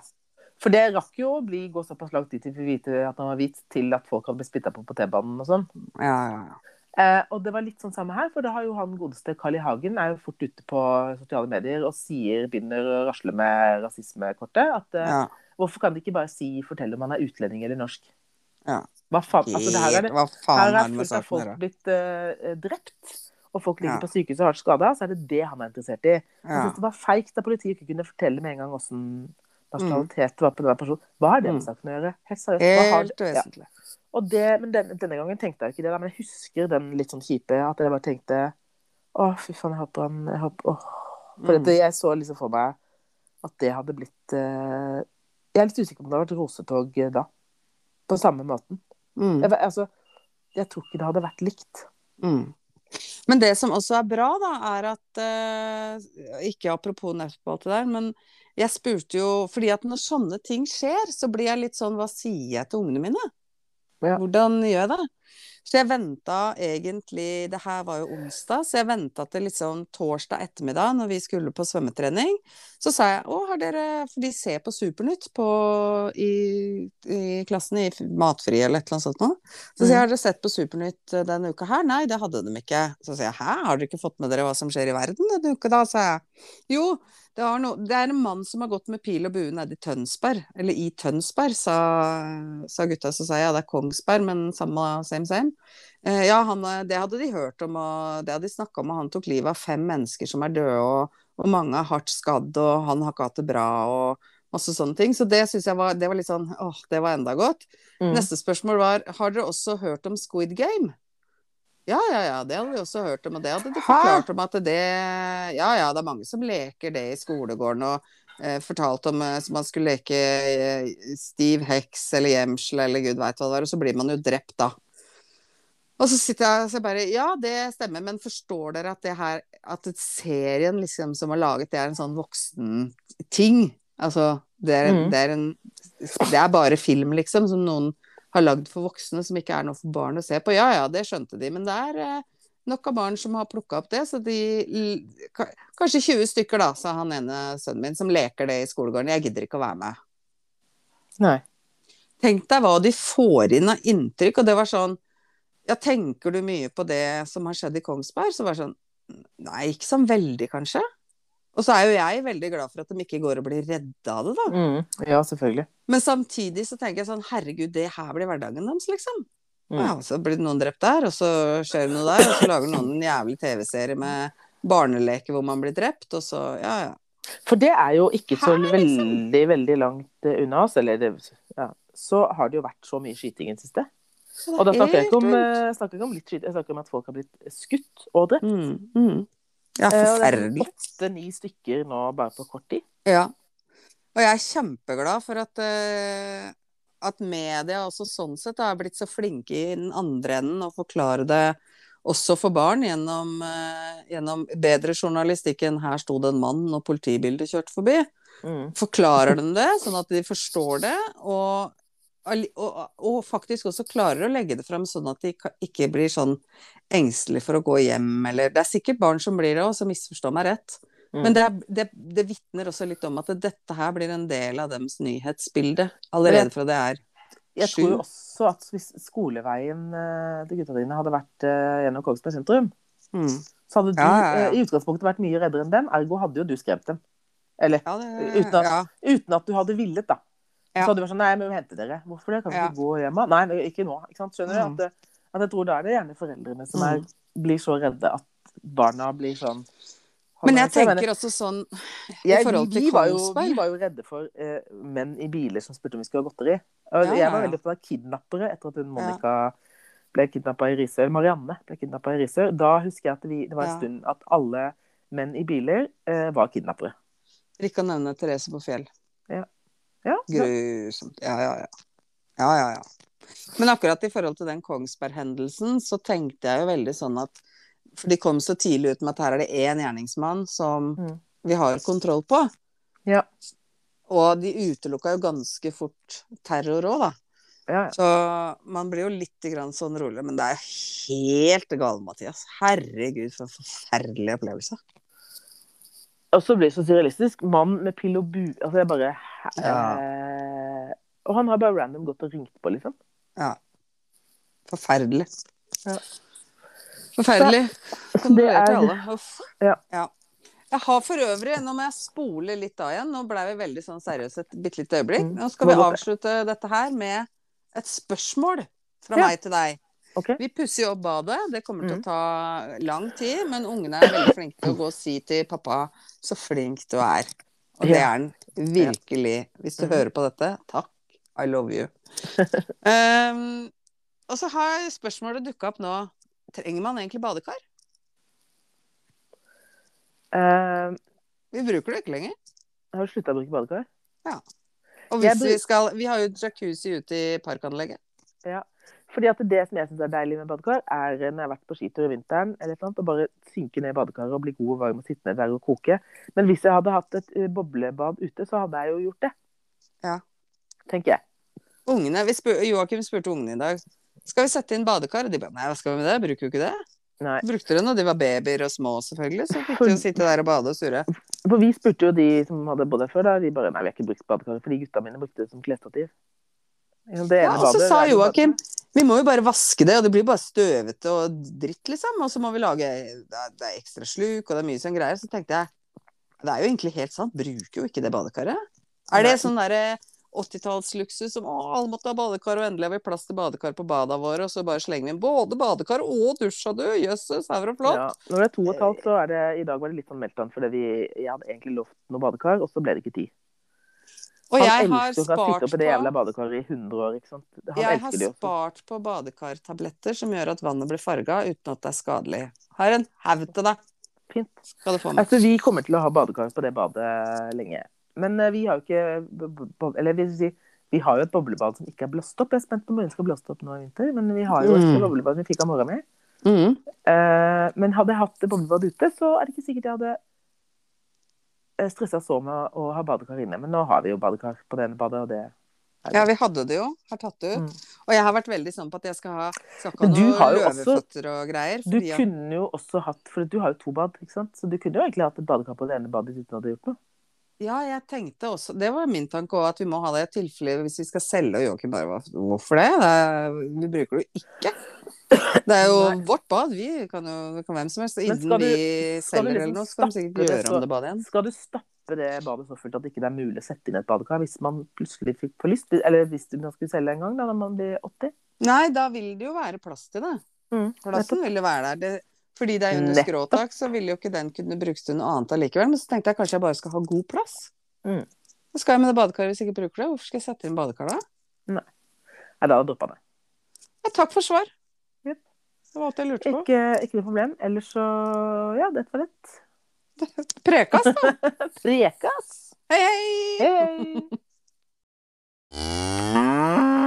S2: For det rakk jo å bli, gå såpass langt dit til vi vite at han var hvit, til at folk hadde blitt spytta på på T-banen og sånn.
S1: Ja, ja, ja.
S2: Eh, og det var litt sånn samme her, for da har jo han godeste Carl I. Hagen er jo fort ute på sosiale medier og sier, begynner å rasle med rasismekortet. At eh,
S1: ja.
S2: hvorfor kan de ikke bare si, fortelle om han er utlending eller norsk?
S1: Ja.
S2: Hva faen? Altså, det her er det.
S1: Hva faen
S2: Her
S1: er
S2: er
S1: det med
S2: fullt av
S1: saken å
S2: folk
S1: gjøre?
S2: blitt eh, drept, og folk ligger
S1: Ja.
S2: på sykehuset og hardt skada, så er det det han er interessert i.
S1: Ja.
S2: Jeg synes det var feigt at politiet ikke kunne fortelle med en gang hvordan nasjonalitet var på denne personen. Hva har det med
S1: Mm.
S2: saken å gjøre? Helt seriøst. hva har
S1: Helt
S2: det- ja.
S1: vesentlig.
S2: Og det, men den, denne gangen tenkte jeg ikke det, da, men jeg husker den litt sånn kjipe at jeg bare tenkte Å, fy faen, jeg håper han jeg håper, åh. For
S1: Mm.
S2: at jeg så liksom for meg at det hadde blitt eh, Jeg er litt usikker på om det hadde vært rosetog eh, da. På samme måten.
S1: Mm.
S2: Jeg, ve- altså, jeg tror ikke det hadde vært likt.
S1: Mm. Men det som også er bra, da, er at eh, Ikke apropos netball til der, men jeg spurte jo fordi at når sånne ting skjer, så blir jeg litt sånn Hva sier jeg til ungene mine?
S2: Ja.
S1: Hvordan gjør jeg det? Så jeg venta egentlig Det her var jo onsdag, så jeg venta til liksom torsdag ettermiddag når vi skulle på svømmetrening. Så sa jeg å, har dere For de ser på Supernytt på, i, i klassen i Matfri eller et eller annet sånt noe. Så sier jeg, har dere sett på Supernytt eh, denne uka her? Nei, det hadde de ikke. Så sier jeg, hæ, har dere ikke fått med dere hva som skjer i verden denne uka da? sa jeg. Jo, det, har no det er en mann som har gått med pil og bue nede i Tønsberg, eller i Tønsberg, sa, sa gutta. Så sa jeg, ja, det er Kongsberg, men samme, same, same. Eh, ja, han, eh, det hadde de hørt om, og det hadde de snakka om, og han tok livet av fem mennesker som er døde, og, og mange er hardt skadd, og han har ikke hatt det bra, og masse sånne ting. Så det syns jeg var, det var litt sånn, åh, det var enda godt.
S2: Mm.
S1: Neste spørsmål var Har dere også hørt om Squid Game? Ja, ja, ja, det hadde vi også hørt om, og det hadde de
S2: Hæ?
S1: forklart om at det Ja, ja, det er mange som leker det i skolegården, og eh, fortalt om eh, så man skulle leke eh, stiv heks eller gjemsel eller gud veit hva det var, og så blir man jo drept da. Og så sitter jeg og så bare Ja, det stemmer, men forstår dere at det her At serien liksom som er laget, det er en sånn voksen-ting? Altså, det er,
S2: Mm.
S1: det er en Det er bare film, liksom, som noen har lagd for voksne, som ikke er noe for barn å se på. Ja ja, det skjønte de, men det er eh, nok av barn som har plukka opp det, så de l- ka- Kanskje 20 stykker, da, sa han ene sønnen min, som leker det i skolegården. Jeg gidder ikke å være med.
S2: Nei.
S1: Tenk deg hva de får inn av inntrykk, og det var sånn Ja, tenker du mye på det som har skjedd i Kongsberg? Så var det sånn Nei, ikke sånn veldig, kanskje. Og så er jo jeg veldig glad for at de ikke går og blir redde av det, da.
S2: Mm. Ja, selvfølgelig.
S1: Men samtidig så tenker jeg sånn Herregud, det her blir hverdagen deres, liksom.
S2: Mm.
S1: Ja, så blir det noen drept der, og så skjer det noe der, og så lager noen en jævlig TV-serie med barneleker hvor man blir drept, og så Ja, ja.
S2: For det er jo ikke så
S1: Her, liksom.
S2: veldig, veldig langt eh, unna oss, eller det, ja. Så har det jo vært så mye skyting i det siste.
S1: Så det
S2: Og da
S1: er
S2: snakker jeg ikke om,
S1: helt vilt.
S2: eh, snakker jeg ikke om litt skyting, jeg snakker om at folk har blitt skutt og drept.
S1: mm, mm. Ja,
S2: Eh, og det er
S1: forferdelig.
S2: Åtte-ni stykker nå bare på kort tid.
S1: Ja. Og jeg er kjempeglad for at, eh, at media også sånn sett har blitt så flinke i den andre enden å forklare det også for barn gjennom, eh, gjennom bedre journalistikk enn 'her sto det en mann og politibildet kjørte forbi'.
S2: Mm.
S1: Forklarer dem det, sånn at de forstår det, og, alli- og, og faktisk også klarer å legge det fram sånn at de ka- ikke blir sånn engstelige for å gå hjem, eller Det er sikkert barn som blir det òg, som misforstår meg rett.
S2: Mm.
S1: Men det, er- det, det vitner også litt om at dette her blir en del av deres nyhetsbilde allerede fra det er
S2: Jeg tror
S1: sju.
S2: jo også at hvis skoleveien eh, til gutta dine hadde vært eh, gjennom Kongsberg sentrum,
S1: Mm.
S2: så hadde du
S1: Ja, ja, ja.
S2: eh, i utgangspunktet vært mye reddere enn dem, ergo hadde jo du skremt dem. Eller
S1: Ja, det,
S2: Uten at-
S1: ja.
S2: uten at du hadde villet, da.
S1: Ja.
S2: Så hadde du vært sånn Nei, men vi må hente dere. Hvorfor det? Kan vi
S1: Ja.
S2: ikke gå hjem? da? Nei, men ikke nå. Ikke sant? Skjønner du?
S1: Mm.
S2: At, det- at jeg tror da er det gjerne foreldrene som er,
S1: Mm.
S2: blir så redde at barna blir sånn
S1: Men jeg
S2: Så mener-
S1: tenker også sånn
S2: jeg,
S1: i forhold
S2: vi,
S1: til
S2: vi var jo,
S1: Kongsberg
S2: vi var jo redde for eh, menn i biler som spurte om vi skulle ha godteri. Og
S1: Ja,
S2: jeg
S1: ja,
S2: var
S1: ja.
S2: veldig opptatt av kidnappere etter at hun Monica ble kidnappa i Risør. eller Marianne ble kidnappa i Risør. Da husker jeg at vi, det var en
S1: Ja.
S2: stund at alle menn i biler eh, var kidnappere.
S1: For ikke å nevne Therese på Fjell.
S2: Ja, det-
S1: Grusomt. Ja, ja, ja. Ja, ja, ja. Men akkurat i forhold til den Kongsberg-hendelsen, så tenkte jeg jo veldig sånn at For de kom så tidlig ut med at her er det én gjerningsmann som
S2: Mm.
S1: vi har kontroll på.
S2: Ja.
S1: Og de utelukka jo ganske fort terror òg, da.
S2: ja, ja.
S1: Så man blir jo litt grann sånn rolig, men det er helt gale, Mathias. Herregud, for en forferdelig opplevelse.
S2: Og så blir det så surrealistisk. Mann med pill og bue Altså, jeg bare hæ-
S1: Ja.
S2: eh, Og han har bare random gått og ringt på, liksom.
S1: Forferdelig.
S2: Ja.
S1: Forferdelig. Sånn
S2: det
S1: blir det til
S2: er-
S1: alle. Uff.
S2: Ja.
S1: Jeg har for øvrig, nå må jeg spole litt av igjen, nå ble vi veldig sånn seriøse et bitte lite øyeblikk.
S2: Mm.
S1: Nå skal vi
S2: Nå går
S1: avslutte dette her med et spørsmål fra
S2: Ja.
S1: meg til deg.
S2: Ok?
S1: Vi pusser jo opp badet, det kommer til
S2: Mm.
S1: å ta lang tid, men ungene er veldig flinke til å gå og si til pappa 'så flink du er'. Og det er
S2: Ja.
S1: han virkelig. Hvis du
S2: Mm.
S1: hører på dette, takk. I love you. Ehm, og så har spørsmålet dukka opp nå. Trenger man egentlig badekar?
S2: Eh,
S1: Vi bruker det ikke lenger.
S2: har du slutta å bruke badekar?
S1: Og
S2: Jeg
S1: hvis
S2: bru-
S1: vi skal Vi har jo jacuzzi ute i parkanlegget.
S2: Fordi at det som jeg syns er deilig med badekar, er når jeg har vært på skitur i vinteren, eller et eller annet, å bare synke ned i badekaret og bli god og varm og sitte ned der og koke. Men hvis jeg hadde hatt et eh, boblebad ute, så hadde jeg jo gjort det.
S1: Ja.
S2: Tenker jeg.
S1: Ungene, vi spur, Joakim spurte ungene i dag skal vi sette inn badekar. Og de bare nei, hva skal vi med det, bruker jo ikke det.
S2: Nei.
S1: Brukte det når de var babyer og små, selvfølgelig. Så fikk de jo sitte der og bade og surre.
S2: For vi spurte jo de som hadde bodd her før, da. De bare nei, vi har ikke brukt badekaret, fordi gutta mine brukte det som klesstativ. Ja, det
S1: Ja,
S2: ene
S1: og så
S2: badet
S1: sa
S2: er jo
S1: Joakim
S2: badekaret.
S1: vi må jo bare vaske det, og det blir bare støvete og dritt, liksom. Og så må vi lage Det er- det er ekstra sluk, og det er mye sånn greier. Så tenkte jeg det er jo egentlig helt sant, bruker jo ikke det badekaret. Er det sånn derre 80-tallsluksus som å, alle måtte ha badekar, og endelig har vi plass til badekar på bada våre, og så bare slenger vi inn både badekar og dusja, du! Jøsses, her var det flott!
S2: Ja. Når det er to og et halvt, så er det I dag var det litt sånn meltdown, fordi vi, jeg hadde egentlig lovt noe badekar, og så ble det ikke tid.
S1: Og jeg
S2: han
S1: har
S2: elsker å sitte
S1: spart
S2: oppi det
S1: på
S2: jævla badekaret i 100 år, ikke sant. Han
S1: Jeg har
S2: elsker det også.
S1: spart på badekartabletter som gjør at vannet blir farga uten at det er skadelig. Har en haug til deg.
S2: Fint.
S1: Skal du få med.
S2: Altså, vi kommer til å ha badekar på det badet lenge. Men eh, vi har jo ikke b- b- bo- Eller vi, si, vi har jo et boblebad som ikke er blåst opp. Jeg er spent på om hun skal blåse opp nå i vinter, men vi har jo et
S1: Mm.
S2: boblebad som vi fikk av mora mi.
S1: Mm.
S2: Eh, men hadde jeg hatt det boblebad ute, så er det ikke sikkert jeg hadde stressa så med å ha badekar inne. Men nå har vi jo badekar på det ene badet, og det
S1: Ja, vi hadde det jo. Har tatt det ut.
S2: Mm.
S1: Og jeg har vært veldig sånn på at jeg skal ha, skal ikke ha
S2: Men du har
S1: noen
S2: jo
S1: løveføtter og greier.
S2: Du
S1: Fordi at,
S2: kunne jo også hatt For du har jo to bad, ikke sant? Så du kunne jo egentlig hatt et badekar på det ene badet ditt uten at du hadde gjort noe.
S1: ja, jeg tenkte også Det var min tanke òg, at vi må ha det i tilfelle hvis vi skal selge. Og Joakim bare "Hva- Hvorfor det? det er, vi bruker det jo ikke. Det er jo vårt bad. Vi kan jo det kan hvem som helst. Og innen
S2: Men skal
S1: vi
S2: skal
S1: selger
S2: du liksom
S1: eller noe, så kan vi
S2: stappe
S1: sikkert
S2: det
S1: gjøre
S2: så-
S1: om det badet igjen.
S2: Skal du stappe det badet så fullt at ikke det ikke er mulig å sette inn et badekar hvis man plutselig fikk på lyst? Eller hvis man skulle selge en gang, da, når man blir 80?
S1: Nei, da vil det jo være plass til det.
S2: Mm.
S1: Plassen vil jo være der. Det, fordi det er under
S2: Nettopp.
S1: skråtak, så vil jo ikke den kunne brukes til noe annet allikevel. Men så tenkte jeg kanskje jeg bare skal ha god plass.
S2: Mm.
S1: Hva skal jeg med det badekaret hvis jeg ikke bruker det? Hvorfor skal jeg sette inn badekar da?
S2: Nei, da droppa det.
S1: Ja, takk for svar.
S2: Jep.
S1: Det var alt jeg lurte på.
S2: Ikke, ikke noe problem. Ellers så Ja, dette var lett.
S1: Prekas, da!
S2: Prekas!
S1: Hei, hei!
S2: Hei!